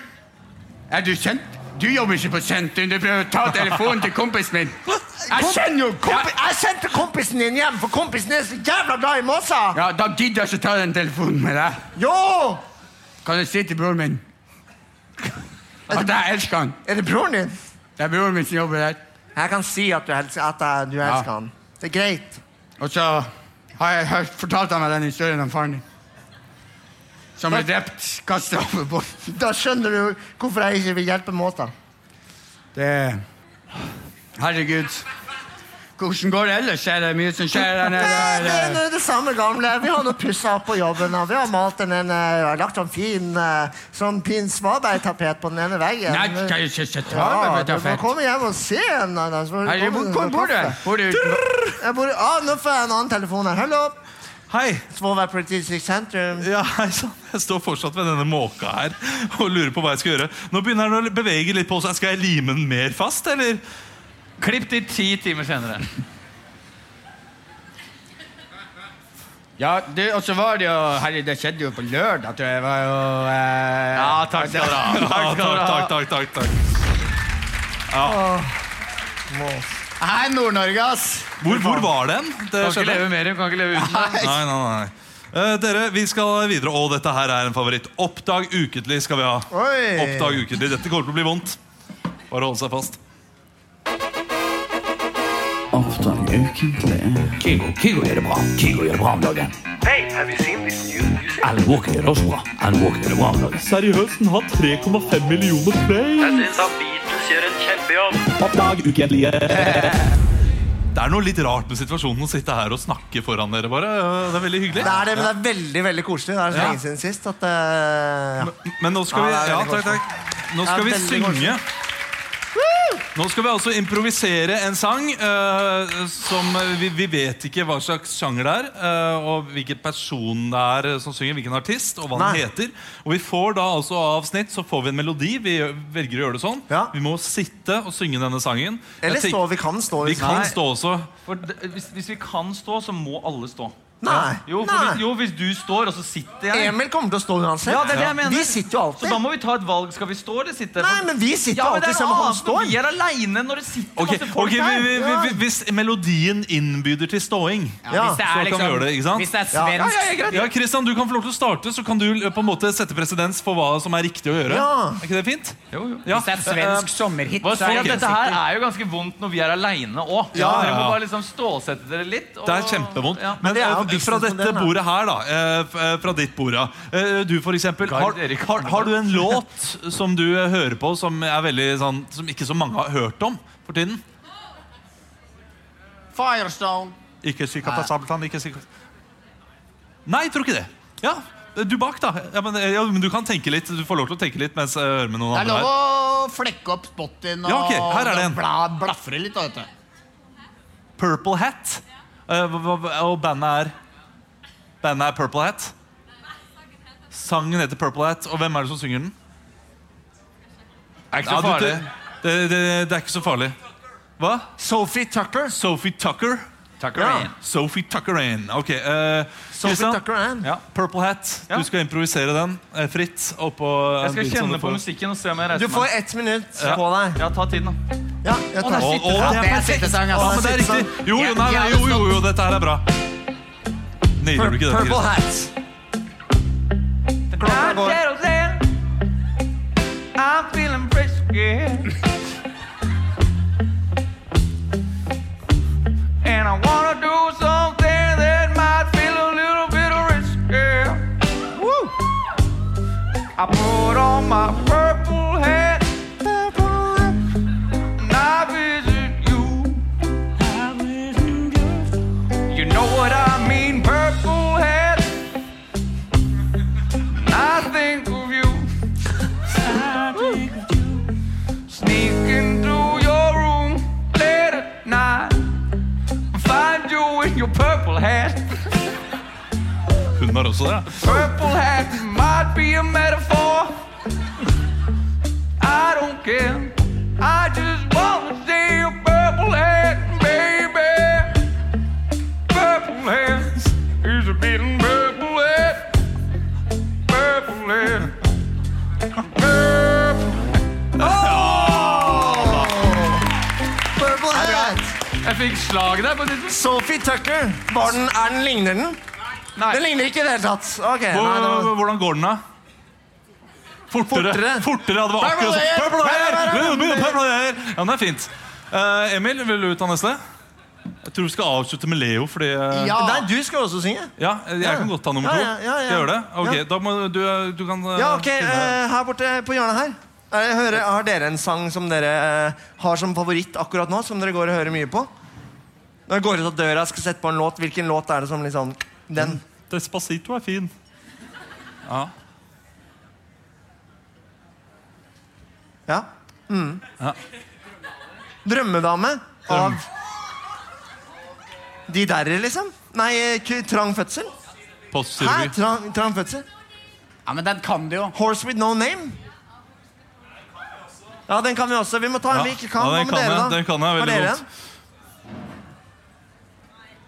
Er du kjent? Du jobber ikke på sentrum. Du prøver å ta telefonen til kompisen min. Jeg kjenner jo
Kompi
kompi...
jeg sendte kompisen din hjem, for kompisen er så jævla glad i måser!
Ja, da gidder jeg ikke ta den telefonen med deg.
Jo!
Kan du si til broren min at jeg elsker han?
Er det broren din?
Det er broren min som jobber der.
Jeg kan si at du elsker, at jeg, du elsker han. Det er greit.
Og så har jeg hørt, fortalt han meg den historien om faren din. Som ble drept, kastet overbord.
Da skjønner du hvorfor jeg ikke vil hjelpe måter.
Det Herregud. Hvordan går det ellers? Er det mye som skjer der
Det,
nede?
det,
Er det-
Eh, det er det samme gamle. Vi har nå pussa opp på jobben. og Vi har malt en, en eh, lagt en fin eh, sånn Pin Svaberg-tapet på den ene veggen.
Nei, du skal ikke ikke ta meg
ja,
for
du må
taffet.
komme hjem og se den. da, så får du
Herregud,
komme-
Hvor bor du? Bor du?
Jeg bor, ah, nå får jeg en annen telefon her. Hallo!
Hei.
Svolvær politistasjon sentrum.
Ja, hei sann. Jeg står fortsatt ved denne måka her og lurer på hva jeg skal gjøre. Nå begynner den å bevege litt på seg. Skal jeg lime den mer fast, eller?
Klipp til ti timer senere.
Ja, du, og så var det jo Herre, det skjedde jo på lørdag, tror jeg. Det var jo eh,
Ja, takk skal dere ha. Takk
Ja,
skal dere ha.
takk, takk, takk, takk.
Hei, Nord-Norge, ass.
Hvor, hvor var den? Det
Kan ikke
skjedde.
leve mer, kan ikke leve uten.
Nei, nei, nei. Eh, dere, vi skal videre. Og dette her er en favoritt. Oppdag ukentlig skal vi ha.
Oi.
Oppdag ukentlig. Dette kommer til å bli vondt. Bare holde seg fast.
Seriøst, den har 3,5 millioner play!
Det er noe litt rart med situasjonen å sitte her og snakke foran dere. bare. Eh, Det er veldig hyggelig.
Det er det, men det er veldig veldig koselig. Det er så
Ja.
lenge siden sist at eh, ja.
Men nå skal vi
Ja, det er
Ja,
veldig
takk, takk. Nå skal
Det
vi
er veldig
synge. Nå skal vi altså improvisere en sang eh, som vi, vi vet ikke hva slags sjanger det er, eh, og hvilken person det er eh, som synger, hvilken artist, og hva
Nei.
den heter. Og vi får da altså avsnitt, så får vi en melodi. Vi gjør- velger å gjøre det sånn.
Ja.
Vi må sitte og synge denne sangen. Jeg
Eller stå.
tenker-
Vi kan stå.
Vi
hvis-
kan stå også.
For d- hvis, hvis vi kan stå, så må alle stå.
Nei.
Jo, for
Nei.
hvis, jo, hvis du står, og så sitter jeg
Emil kommer til å stå uansett.
Ja, det er det jeg mener.
Vi sitter jo
Så
alltid.
da må vi ta et valg. Skal vi stå eller sitte?
Nei, men vi sitter
ja, men det
alltid
er noe
sammen. Han
annet når
står.
vi er aleine når det sitter
Ok,
masse
ok,
folk
vi,
her.
vi, vi, vi, Hvis melodien innbyder til ståing
Ja.
Hvis det
Så
er
kan vi
liksom
gjøre det, ikke sant?
Hvis det er
Ja.
svensk
Ja, Christian, du kan få lov til å starte, så kan du eh, på en måte sette presedens for hva som er riktig å gjøre.
Ja.
Er ikke det fint?
Jo, jo.
Ja. Eh,
Hvis det er svensk sommerhit,
Hva
så
sier
er
at
det
Dette her er jo ganske vondt når vi er aleine òg.
Ja, ja,
Dere må
ja.
bare liksom stålsette dere litt. og-
Det er kjempevondt.
Ja.
Men
det er jo
eh, fra dette
businessmodellen, da.
bordet her, da. eh, f- eh, Fra ditt bord, ja. Eh, Du, for eksempel. Har,
Gard Erik
har,
Arnberg.
har du en låt som du eh, hører på som er veldig sånn Som ikke så mange har hørt om for tiden?
Firestone.
Ikke si katasabeltann, ikke si kat- Nei, jeg tror ikke det. Ja, du bak, da. Ja, men, eh, ja, men du kan tenke litt. Du får lov til å tenke litt mens jeg hører med noen
Det er
andre
lov
her.
å flekke opp spotten og
Ja, ok, her er det en.
bla, blafre litt. da, vet du.
Purple Hat. Eh, hva- hva- Og bandet er Bandet er Purple Hat. Sangen heter Purple Hat, og hvem er det som synger den?
Er ikke så
Ja, du,
farlig.
det, det, det, det er ikke så farlig. Hva?
Sophie Tucker.
Sophie Tucker.
Tuckerane.
Sophie Tuckerane. Ok, eh,
Sophie
Christian,
Tuckerane.
Ja, Purple Hat. Du skal improvisere den eh, fritt. Oppå
Jeg skal
sånn
kjenne på musikken og se om jeg reiser
Du får ett minutt
Ja.
på deg.
Ja, ta tiden, da.
Ja, jeg tar
Å, å, det er
Det er
perfekt!
sittesang,
Ja, men
altså.
det er
sånn.
riktig. Jo, jo, nei, nei, jo, jo, jo, dette her er bra. Nailer du ikke dette,
Purple
Christian?
Hat. Klokka går.
I'm feeling frisky. And I wanna do something that might feel a little bit risky. I put on my purple hat. And I visit you. You know what I mean, purple hat. I think of you. Sneaking through your room late at night. Find you in your purple hat.
Hun har også det. ja.
Purple hat might be a metaphor. I don't care. I just wanna see a purple hat, baby. Purple hat is a beating purple hat. Purple hat. Purple.
Purple Hat.
Jeg fikk slag der på ditt
Sophie Tucker. Var den, er den, ligner den?
Nei.
Den ligner ikke i det hele tatt. Ok, nei, det var...
Hvor- Hvordan går den, da? Fortere.
Fortere.
Fortere, ja, det var akkurat sånn. Purple hair! Purple hair! Ja, men det er fint. Eh, Emil, vil du ta neste? Jeg tror vi skal avslutte med Leo, fordi eh,
Ja.
Nei, du skal også synge.
Ja, jeg kan godt ta nummer to.
Ja, ja, ja, ja.
Skal jeg gjøre det? Ok,
Ja.
Da må du, du kan eh,
Ja, ok,
finne-
eh, her borte på hjørnet her. Eh, Jeg hører, har dere en sang som dere eh, har som favoritt akkurat nå, som dere går og hører mye på? Når jeg går ut av døra og skal sette på en låt, hvilken låt er det som liksom Den.
Despacito er fin. Ja.
Ja. Mm. Drømmedame av De derre, liksom? Nei, eh, k- Trang fødsel? Hæ?
Postkirurgi.
Trang, trang fødsel?
Ja, men den kan du jo.
Horse with no name? Ja, den kan vi også. Vi må ta en vi ikke kan.
Ja,
Hva
den
med
kan
dere,
jeg.
da?
Den kan jeg
Har
veldig
dere
godt.
en?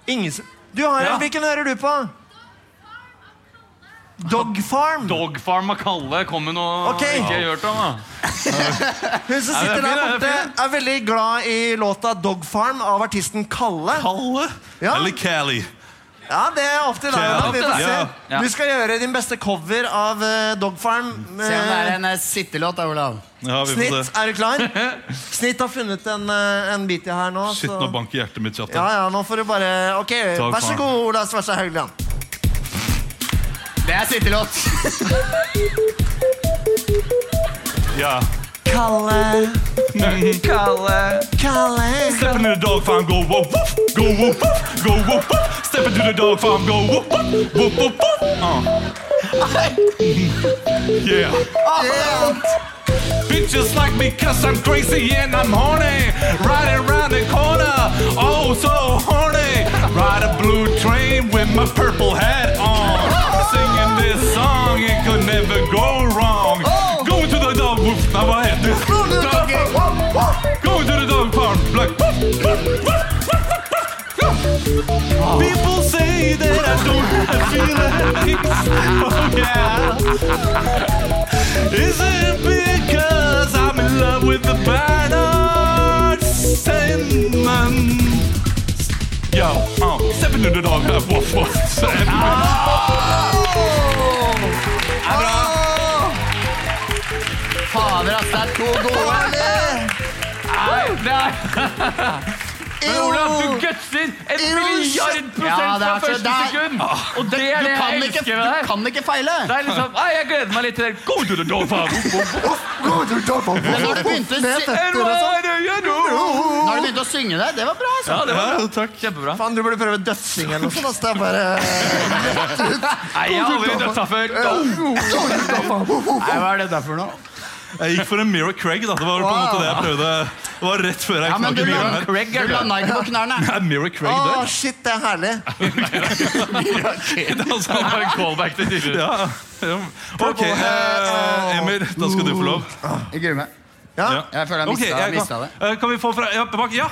Ingen som Du har en.
Ja.
Hvilken hører du på? Dog Farm.
Dog Farm av Kalle kom med noe
Ok.
jeg ikke har hørt om. da.
Hun som sitter
fin,
der
den er
borte, er veldig glad i låta Dog Farm av artisten Kalle.
Kalle
Ja.
eller Cali.
Ja, det er opp til deg.
Ja,
Da. Vi
opp til
får
deg.
se.
Ja.
Du skal gjøre din beste cover av eh, Dog Farm.
Se om det er
Eh,
en eh, sittelåt, da, Olav.
Ja, vi får
Snitt,
se.
er du klar?
[laughs]
Snitt har funnet en, eh, en bit i her nå.
Shit,
så-
nå banker hjertet mitt kjapt.
Ja, ja, nå får du bare Ok,
Takk,
vær så
faen.
god, Ola Svarstad Haugland.
Det er sittelåt.
Ja.
Kalle, Kalle
Step into the dog farm, go woof woof, go woof woof, go woof woof. Step into the dog farm, go woof woof, woof woof woof. Uh. yeah. Bitches like me cause I'm crazy and I'm horny. Riding around the corner, oh so horny. Ride a blue train with my purple hat on. Singing this song, it could never go wrong. Go to the dog woof, now I have this. Oh. Go to the dog Go to the dog farm, like woof, woof, woof, woof, woof, woof. People say that I don't have feelings. Oh yeah. Is it because I'm in love with the Bernard Sandman? Yo, oh, step into the dog, uh, woof, woof, Sandman.
Fader, ass. Det er to gode.
Det
[laughs]
er Men Olav, du gutser en milliard
Ja,
prosent
det
fra
er så-
første
det er-
sekund! Og det er
Du
det jeg
kan ikke,
elsker med
du
deg.
kan ikke feile.
Det er liksom, Nei, jeg gleder meg litt til det. Go to the dog farm!
Men når du begynte, å si-
And why do you do?
når du begynte å synge det, det var bra. Altså.
Ja, det var bra. Kjempebra.
Faen, du burde prøve dødsing eller noe sånt. ass. Det er bare
Nei, jeg har aldri dødsa før.
Nei, hva er det der for noe?
Jeg gikk for en Mira Craig, da. Det var på en måte det jeg prøvde. Det var rett før jeg
Ja, men
knakk
du
i
landa
bilen her.
du landa ikke på knærne.
Er Mira Craig
Å,
død?
shit, det er herlig.
Det er altså-
Det var en callback til tidligere.
Ja. ja. Ok, eh, Emil, da skal du få lov.
Jeg gruer meg.
Ja.
Ja.
Jeg føler jeg
Ok,
Eh,
mista,
jeg
mista det.
kan, eh, kan vi få fra ja, bak, ja.
Å,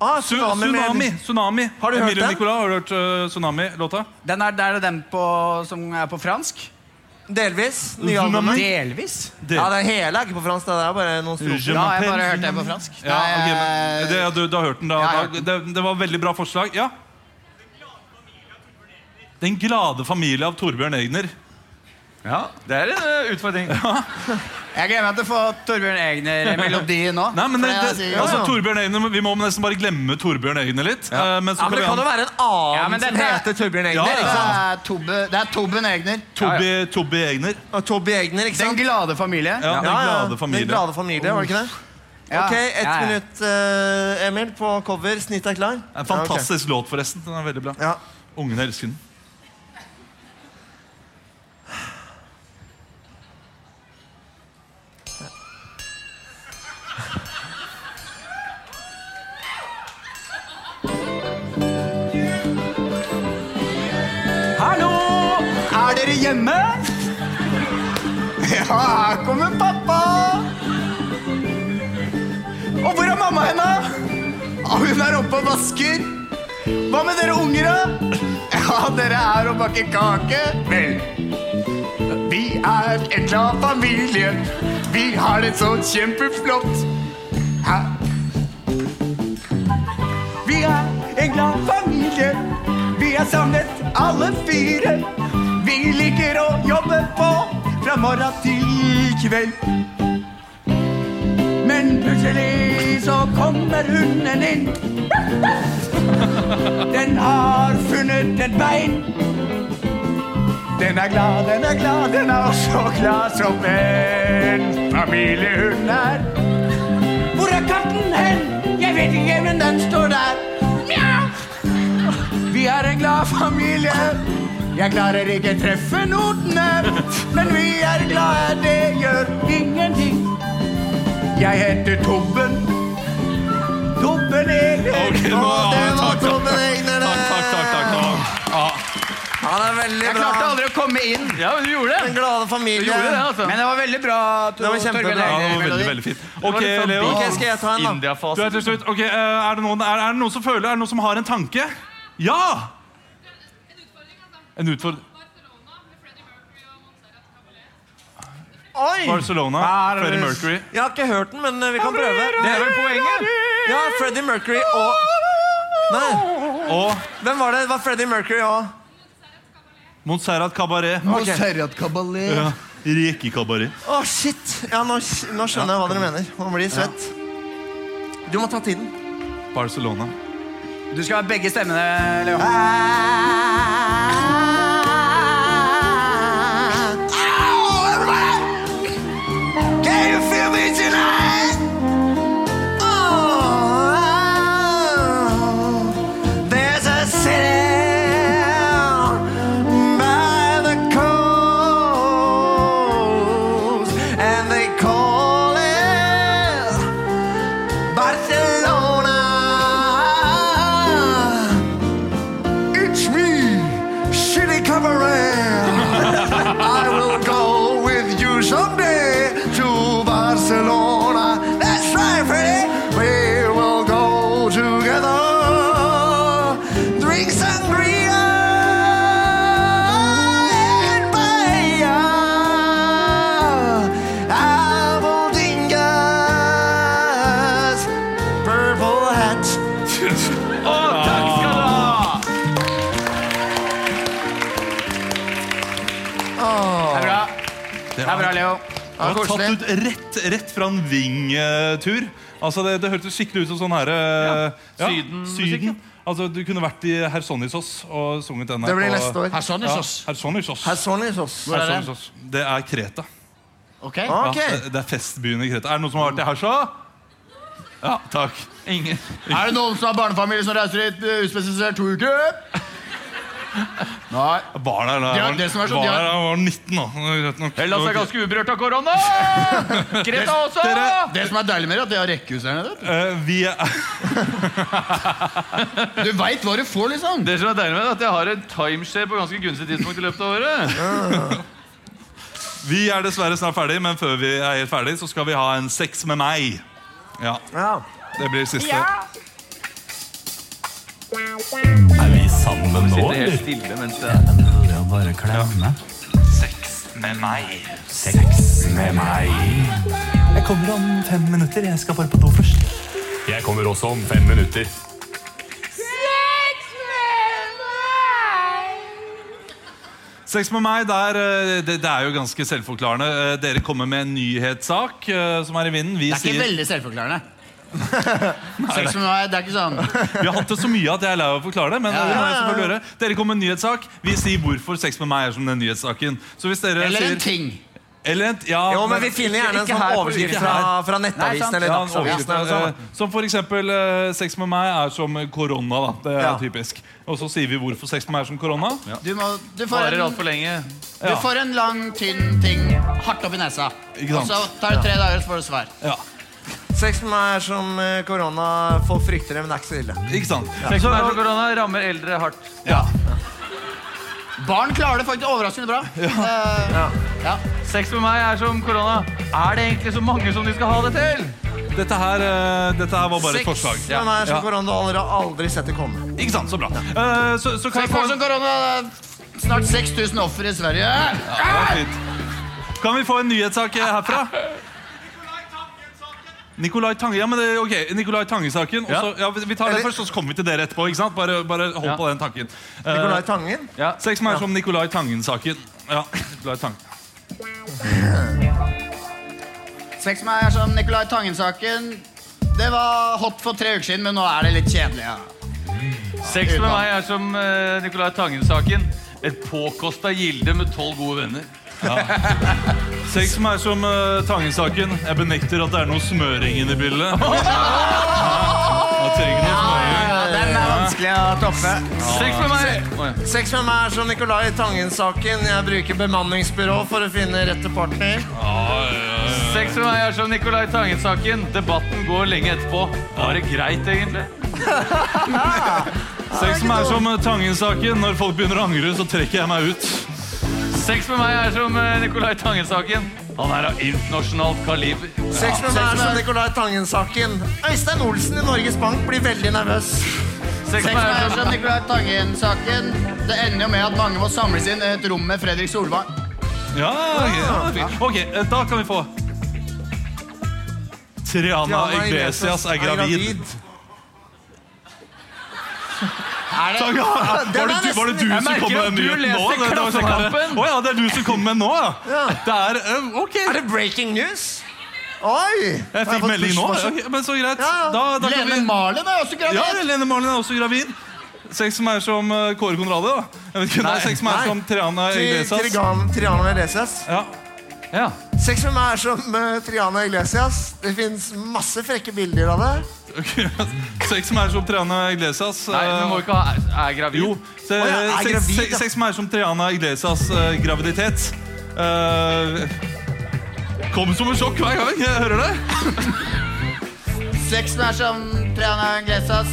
Ah,
Su-
tsunami med-
tsunami. tsunami.
Har du hørt
Emilio
den?
Nicolas, har du hørt øh, Tsunami-låta?
Den er, der er den på, som er på fransk?
Delvis. Nye albumet.
Delvis?
Ja, den hele er ikke på fransk. Det er bare noen strofer.
Ja, jeg bare hørte den på fransk.
Ja,
eh,
ok, men det,
Nei,
ja, du, du har hørt den da.
Ja, jeg har
da det, det var veldig bra forslag. Ja. Den glade familie av Torbjørn Egner.
Ja, Det er en eh, utfordring.
jeg gleder meg til å få Torbjørn Egner-melodi nå.
Nei, men
for
det,
jeg
det,
sier-
altså, Torbjørn Egner, Vi må nesten bare glemme Torbjørn Egner litt. eh, Men
Ja, men
så kan
det
vi
kan jo
ha
være en annen
Ja, men
som
dette-
heter Torbjørn Egner.
Ja,
ikke
det
sant?
er Tobbe, det er Tobben Egner.
Tobby, Tobby Egner.
Og Tobby Egner, ikke
Den
sant?
glade familie.
Ja, Den glade
Den
familie.
glade familie, var det ikke det?
Ja.
Ok, ett
Ja, ja.
minutt, eh, Emil, på cover. Snitt er klar.
En fantastisk låt, forresten. Den er veldig bra.
Ja, ok.
Ungene elsker den.
Hallo! Er dere hjemme? Ja, her kommer pappa! Og hvor er mamma henne? Ja, hun er oppe og vasker. Hva med dere unger, da? Ja, dere er og baker kake. Vel, vi er en glad familie. Vi har det så kjempeflott. Hæ? Vi er en glad familie. Vi er samlet alle fire. Vi liker å jobbe på fra morgen til kveld. Men plutselig så kommer hunden inn. Den har funnet et bein. Den er glad, den er glad, den er også glad som en familiehund er. Hvor er katten hen? Jeg vet ikke, men den står der. Mjau! Vi er en glad familie. Jeg klarer ikke treffe notene, men vi er glade, det gjør ingenting. Jeg heter Tobben. Tobben Egil.
Ok,
Å, det
nå, ja,
var
takk, takk,
Tobbe Egner, det!
takk, takk, takk, takk. nå.
Han er veldig
Jeg
bra.
klarte aldri å komme inn,
Ja, men du gjorde
Den
det.
glade
Du gjorde det,
familie.
altså.
men det var veldig bra.
Det var kjempebra.
Torbjørn
Ja,
Egner.
det var veldig, veldig fint. Ok,
litt sånn
Leo.
Ok, skal jeg ta en, da?
Du er
India-fasen.
til slutt. Ok, eh, er, det noen, er, er det noen som føler? Er det noen som har en tanke? Ja! En utfordring.
Oi!
Barcelona, Freddie Mercury.
Jeg har ikke hørt den, men eh, vi kan prøve.
Det er vel poenget?
Ja, Freddie Mercury og Nei,
Og
hvem var det? Det var Freddie Mercury og
Montserrat Cabaret.
Montserrat Caballé.
Ja. Reki Cabaret.
Å, shit! Ja, nå, nå skjønner jeg hva dere mener. Nå blir jeg svett. Du må ta tiden.
Barcelona.
Du skal ha begge stemmene, Leo.
Oh, Barcelona. It's me, City Cabaret. I will go with you someday to Barcelona. That's right, Freddy. We will go together. Drink sangria and paella. Aberdeen's purple hat.
Det er bra. Det er bra, Leo.
Det var
koselig.
tatt ut rett, rett fra en Ving-tur. Altså det, det hørtes skikkelig ut som sånn her eh, ja,
Syden-musikk, ja.
Altså Du kunne vært i Hersonissos og sunget den her.
Det blir
på-
neste år.
Hersonissos.
Ja, Hersonissos.
Personlig
Hvor er det?
Hersonissos. Det er Kreta.
Ok.
Ja,
Ok.
det, det er festbyen i Kreta. Er det noen som har vært i Hersa? Ja, takk.
Ingen.
Er det noen som har barnefamilie som reiser hit eh, uspesifisert to uker? Nei.
Var der da
De
jeg
har-
var,
det som er så-
var
de har-
der da jeg var 19, da. Greit nok.
Hellas er ganske uberørt av korona! Greta også!
Dere-
Det som er deilig med det, er at de har rekkehus der nede.
Eh, vi er,
Du veit hva du får, liksom.
Det som er deilig med det, er at jeg har en timeshare på ganske gunstig tidspunkt i løpet av året.
vi er dessverre snart ferdig, men før vi er helt ferdig, så skal vi ha en sex med meg. Ja,
Ja.
Det blir siste.
Er vi sammen nå,
Sitter helt
eller?
stille mens det
Det er mulig å bare klemme.
Sex med meg.
Sex med meg. Jeg kommer om fem minutter. Jeg skal bare på do først. Jeg kommer også om fem minutter.
Sex med meg, der, eh, det, det er jo ganske selvforklarende. Eh, Dere kommer med en nyhetssak eh, som er i vinden. Vi
Det er ikke
sier
veldig selvforklarende. Sex med meg, det er ikke sånn.
Vi har hatt det så mye at jeg er lei av å forklare det. Men
Ja, ja,
det må jeg
ja, ja.
selvfølgelig gjøre. Dere kommer med en nyhetssak. Vi sier hvorfor sex med meg er som den nyhetssaken. Så hvis dere
Eller en
sier, Eller en, ja,
Jo, men vi finner gjerne en sånn overskrift fra, fra Nettavisen eller Dagsavisen. eller
Ja,
sånn.
en overskrift. Eh, som for eksempel eh, sex med meg er som korona. da Det er
Ja.
typisk. Og så sier vi hvorfor sex med meg er som korona.
Du, må, du får
Varer
en-
alt for lenge.
Du
Ja.
får en lang, tynn ting hardt opp i nesa.
Ikke
Og
sant?
så tar det tre dager, og så får du svar.
Sex med meg er som eh, korona. Folk frykter det, men det er ikke så ille.
Ikke sant?
Sex med meg som korona rammer eldre hardt.
Barn klarer det faktisk overraskende bra. Eh, ja.
Sex med meg er som korona. Er det egentlig så mange som de skal ha det til?
Dette her, eh, dette her var bare et
Sex
forslag.
med meg er som korona. Du har aldri- aldri sett det komme.
Ikke sant? Så bra. Eh, så, så kan
Sex
vi få
med som korona. det er Snart 6000 offer i Sverige.
Ja, det var fint. Kan vi få en nyhetssak eh, herfra? Nikolai Tange, ja, men det, ok, Nikolai Tange-saken. og så- Ja, vi- vi tar det først, og så kommer vi til dere etterpå. ikke sant? Bare, bare hold på den tanken. Eh,
Nicolai Tangen?
ja. Sex med meg som Nikolai Tangen-saken. Ja, Nikolai Tangen.
Sex med meg er som Nicolai Tangen-saken. Det var hot for tre uker siden, men nå er det litt kjedelig. Ja.
Sex med meg er som eh, Nicolai Tangen-saken. Et påkosta gilde med tolv gode venner.
Sex med meg som eh, Tangen-saken. Jeg benekter at det er noe smøring inne i bildet. Jeg trenger noe smøring.
Den er vanskelig å toppe.
Sex med meg
Ah,
Sex med meg er som Nicolai Tangen-saken. Jeg bruker bemanningsbyrå for å finne rette partner.
Sex med meg er som Nicolai Tangen-saken. Debatten går lenge etterpå. Var det greit,
[laughs]
egentlig?
Sex med meg er som eh, Tangen-saken. Når folk begynner å angre, så trekker jeg meg ut.
Sex med meg er som eh, Nicolai Tangen-saken. Han er av internasjonalt kaliber.
Sex med meg er som Nicolai Tangen-saken. Øystein Olsen i Norges Bank blir veldig nervøs.
Sex med
Sex med
meg
meg
er
som
som
Nicolai Tangen-saken. Det ender jo med at mange må samles inn i et rom med Fredrik Solvang.
Ja,
Ah,
ja, fint. Ok, eh, da kan vi få Triana
Triana
Iglesias er gravid.
Er det?
Takk, ja. Var det, du- var det du
Jeg
som
merker
kom med
at
den
du
nyheten nå?
leser
Det- det var sånn her-
Klassekampen.
Å ja, det er du som kom med nå, ja.
Ja.
Det er eh, Ok.
Er det breaking news? Oi!
Jeg fikk melding nå. eh, Ok, men så greit.
Ja, ja.
Da, da kan
Lene
vi
Marlin er også gravid.
Ja, Lene Marlin er også gravid. Sex som er som eh, Kåre Conradi, da. Jeg vet ikke, nei, sex som er
Nei.
som Triana Iglesias.
Triana Iglesias.
Ja.
Ja.
Sex med meg er som eh, Triana Iglesias. Det fins masse frekke bilder av det.
ok. [laughs] Sex som er som Triana Iglesias.
Nei,
eh,
du må ikke ha er, er gravid.
Jo. Se,
Å ja, er
sex,
gravid,
sex,
ja.
sex med meg som Triana Iglesias eh, graviditet. Eh, kom som et sjokk hver gang jeg hører det.
Sex med meg som Triana Glesas.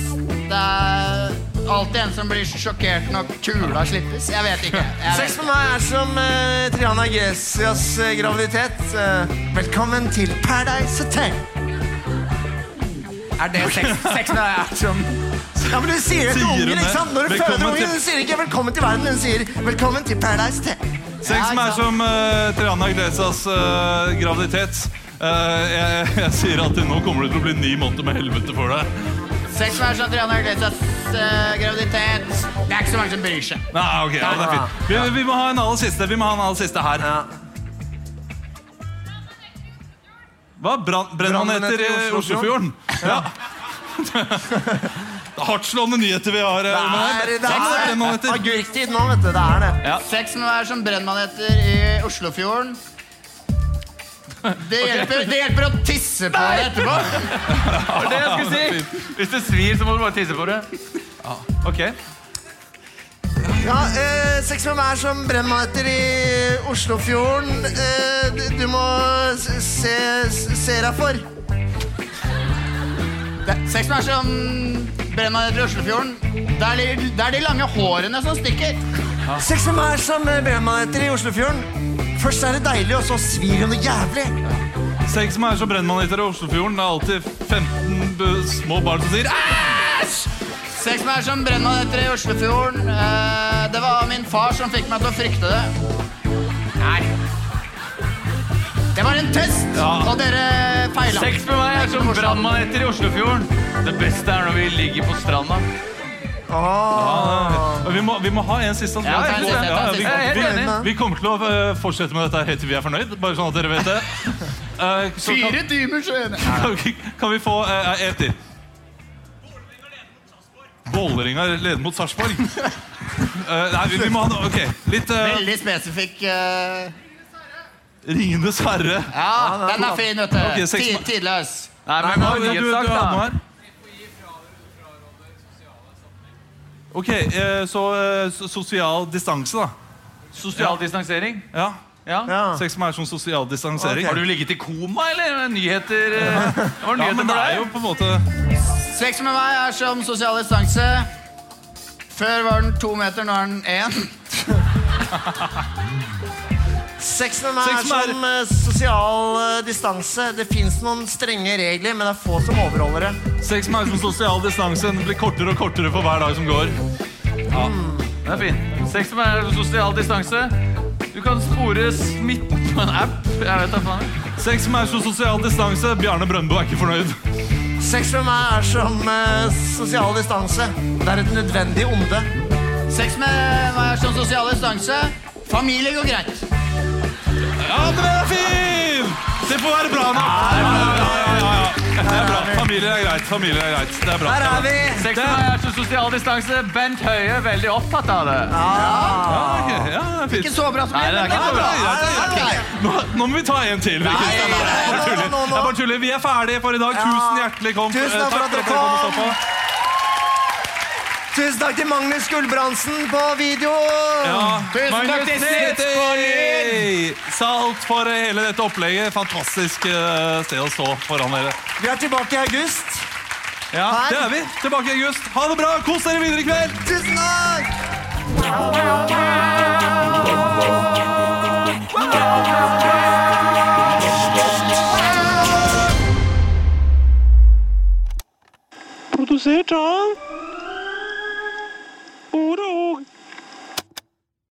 Det er alltid en som blir sjokkert når kula slippes. Jeg vet ikke. Jeg vet.
Sex med meg er som eh, Triana Iglesias eh, graviditet. Eh, velkommen til Paradise Hotel.
Er det sex, sex med meg er som
Ja, men Du sier det til
Sier hun
ungen,
det?
ikke sant? Når du
Velkommen
føder ungen,
til-
du sier ikke 'velkommen til verden', hun sier 'velkommen til Paradise Hotel'.
Sex med meg som eh, Triana Iglesias eh, graviditet. Eh, jeg, jeg sier at nå kommer det til å bli ni måneder med helvete for deg.
Sex med meg som Triana Glesas eh, graviditet. Det er ikke så mange som bryr seg.
Nei, ok, ja, det er fint. Vi, vi må ha en aller siste. Vi må ha en aller siste her. Hva? Brann- Brenner man etter i eh, Oslofjorden? Ja. Det er Hardtslående nyheter vi har. eh, om her.
Det er,
Sex med
det
brennmaneter.
er agurktid nå, vet du. Det er det.
Sex med meg som brennmaneter i Oslofjorden. Det hjelper, det hjelper å tisse på det etterpå.
Det var det
[laughs]
jeg skulle si. Hvis det svir, så må du bare tisse på det. Ok.
Ja, eh, Sex med meg er som brennmaneter i Oslofjorden. Eh, du- du må se, se, se deg for.
Sex med meg som brennmaneter i Oslofjorden. Det er, de, det er de lange hårene som stikker.
Sex med meg er som eh, brennmaneter i Oslofjorden. Først er det deilig, og så svir hun noe jævlig.
Sex med meg som brennmaneter i Oslofjorden. Det er alltid 15 b- små barn som sier æsj!
Seks meg som brenna etter i Oslofjorden. Eh, det var min far som fikk meg til å frykte det. Nei. Det var en test, og dere feila.
Sex med meg er som brannmaneter i Oslofjorden. Det beste er når vi ligger på stranda.
Ja, vi, må, vi må ha en siste.
Ja,
Ja,
jeg er helt enig, jeg er helt
vi, vi,
enig.
vi kommer til å eh, fortsette med dette her helt til vi er fornøyd. Bare sånn at dere vet det. Eh, så kan-
Fire timer senere.
Kan vi, kan vi få uh, en til? Vålerenga leder mot Sarpsborg. Eh, nei, vi, vi må ha noe Ok, litt uh,
Veldig spesifikk. eh,
Ringenes herre.
ja, den er fin, vet du.
Ok, seks-
Tid- Tidløs.
Nei, men
Nei,
hva er
men du- du
nyhetssak,
har
da?
noe her. Ok, eh, så eh, so- sosial distanse, da.
Sosial distansering?
Ja.
Ja.
Sex med er som sosial distansering.
Har du ligget i koma,
[laughs]
eller? Nyheter eh, Var det
Ja,
nyheter
men det
for
er
deg?
jo på en måte
Sex med meg er som sosial distanse. Før var den to meter, nå er den én.
Sex med meg
Sex med
er som eh, sosial eh, distanse. Det fins noen strenge regler, men det er få som overholder det.
Sex med er som sosial distanse. Den blir kortere og kortere for hver dag som går. Ja.
Den er fin. Sex med meg er som sosial distanse. Du kan spore smitten på en app. Jeg vet da faen.
Sex med er som sosial distanse. Bjarne Brøndbo er ikke fornøyd.
Sex med meg er som eh, sosial distanse. Det er et nødvendig onde.
Sex med meg er som sosial distanse. Familie går greit.
Ja, men den er fin! Det får være bra nok. Ja, ja, ja, ja, ja. Det er bra. Familie er greit. Familie er greit. Det er bra.
er vi! Sex med meg er som sosial distanse. Bent Høie er veldig opptatt av det.
Ja, ok. Ja, det er
Ikke
fint.
så bra som
Nei, det er ikke så bra.
Nå, nå må vi ta en til. Kristian. Det er bare tuller. Det er bare tuller. Vi er ferdige for i dag. Tusen hjertelig kom. eh,
Tusen takk for at dere
og
kom.
stå på.
Tusen takk til Magnus Gulbrandsen på video.
Ja.
Tusen takk
Magnus
til
Neti! Salt for eh, hele dette opplegget. Fantastisk eh, sted å stå foran dere.
Vi er tilbake i august.
Ja,
Her.
det er vi. Tilbake i august. Ha det bra. Kos dere videre i kveld.
Tusen takk!
Produsert av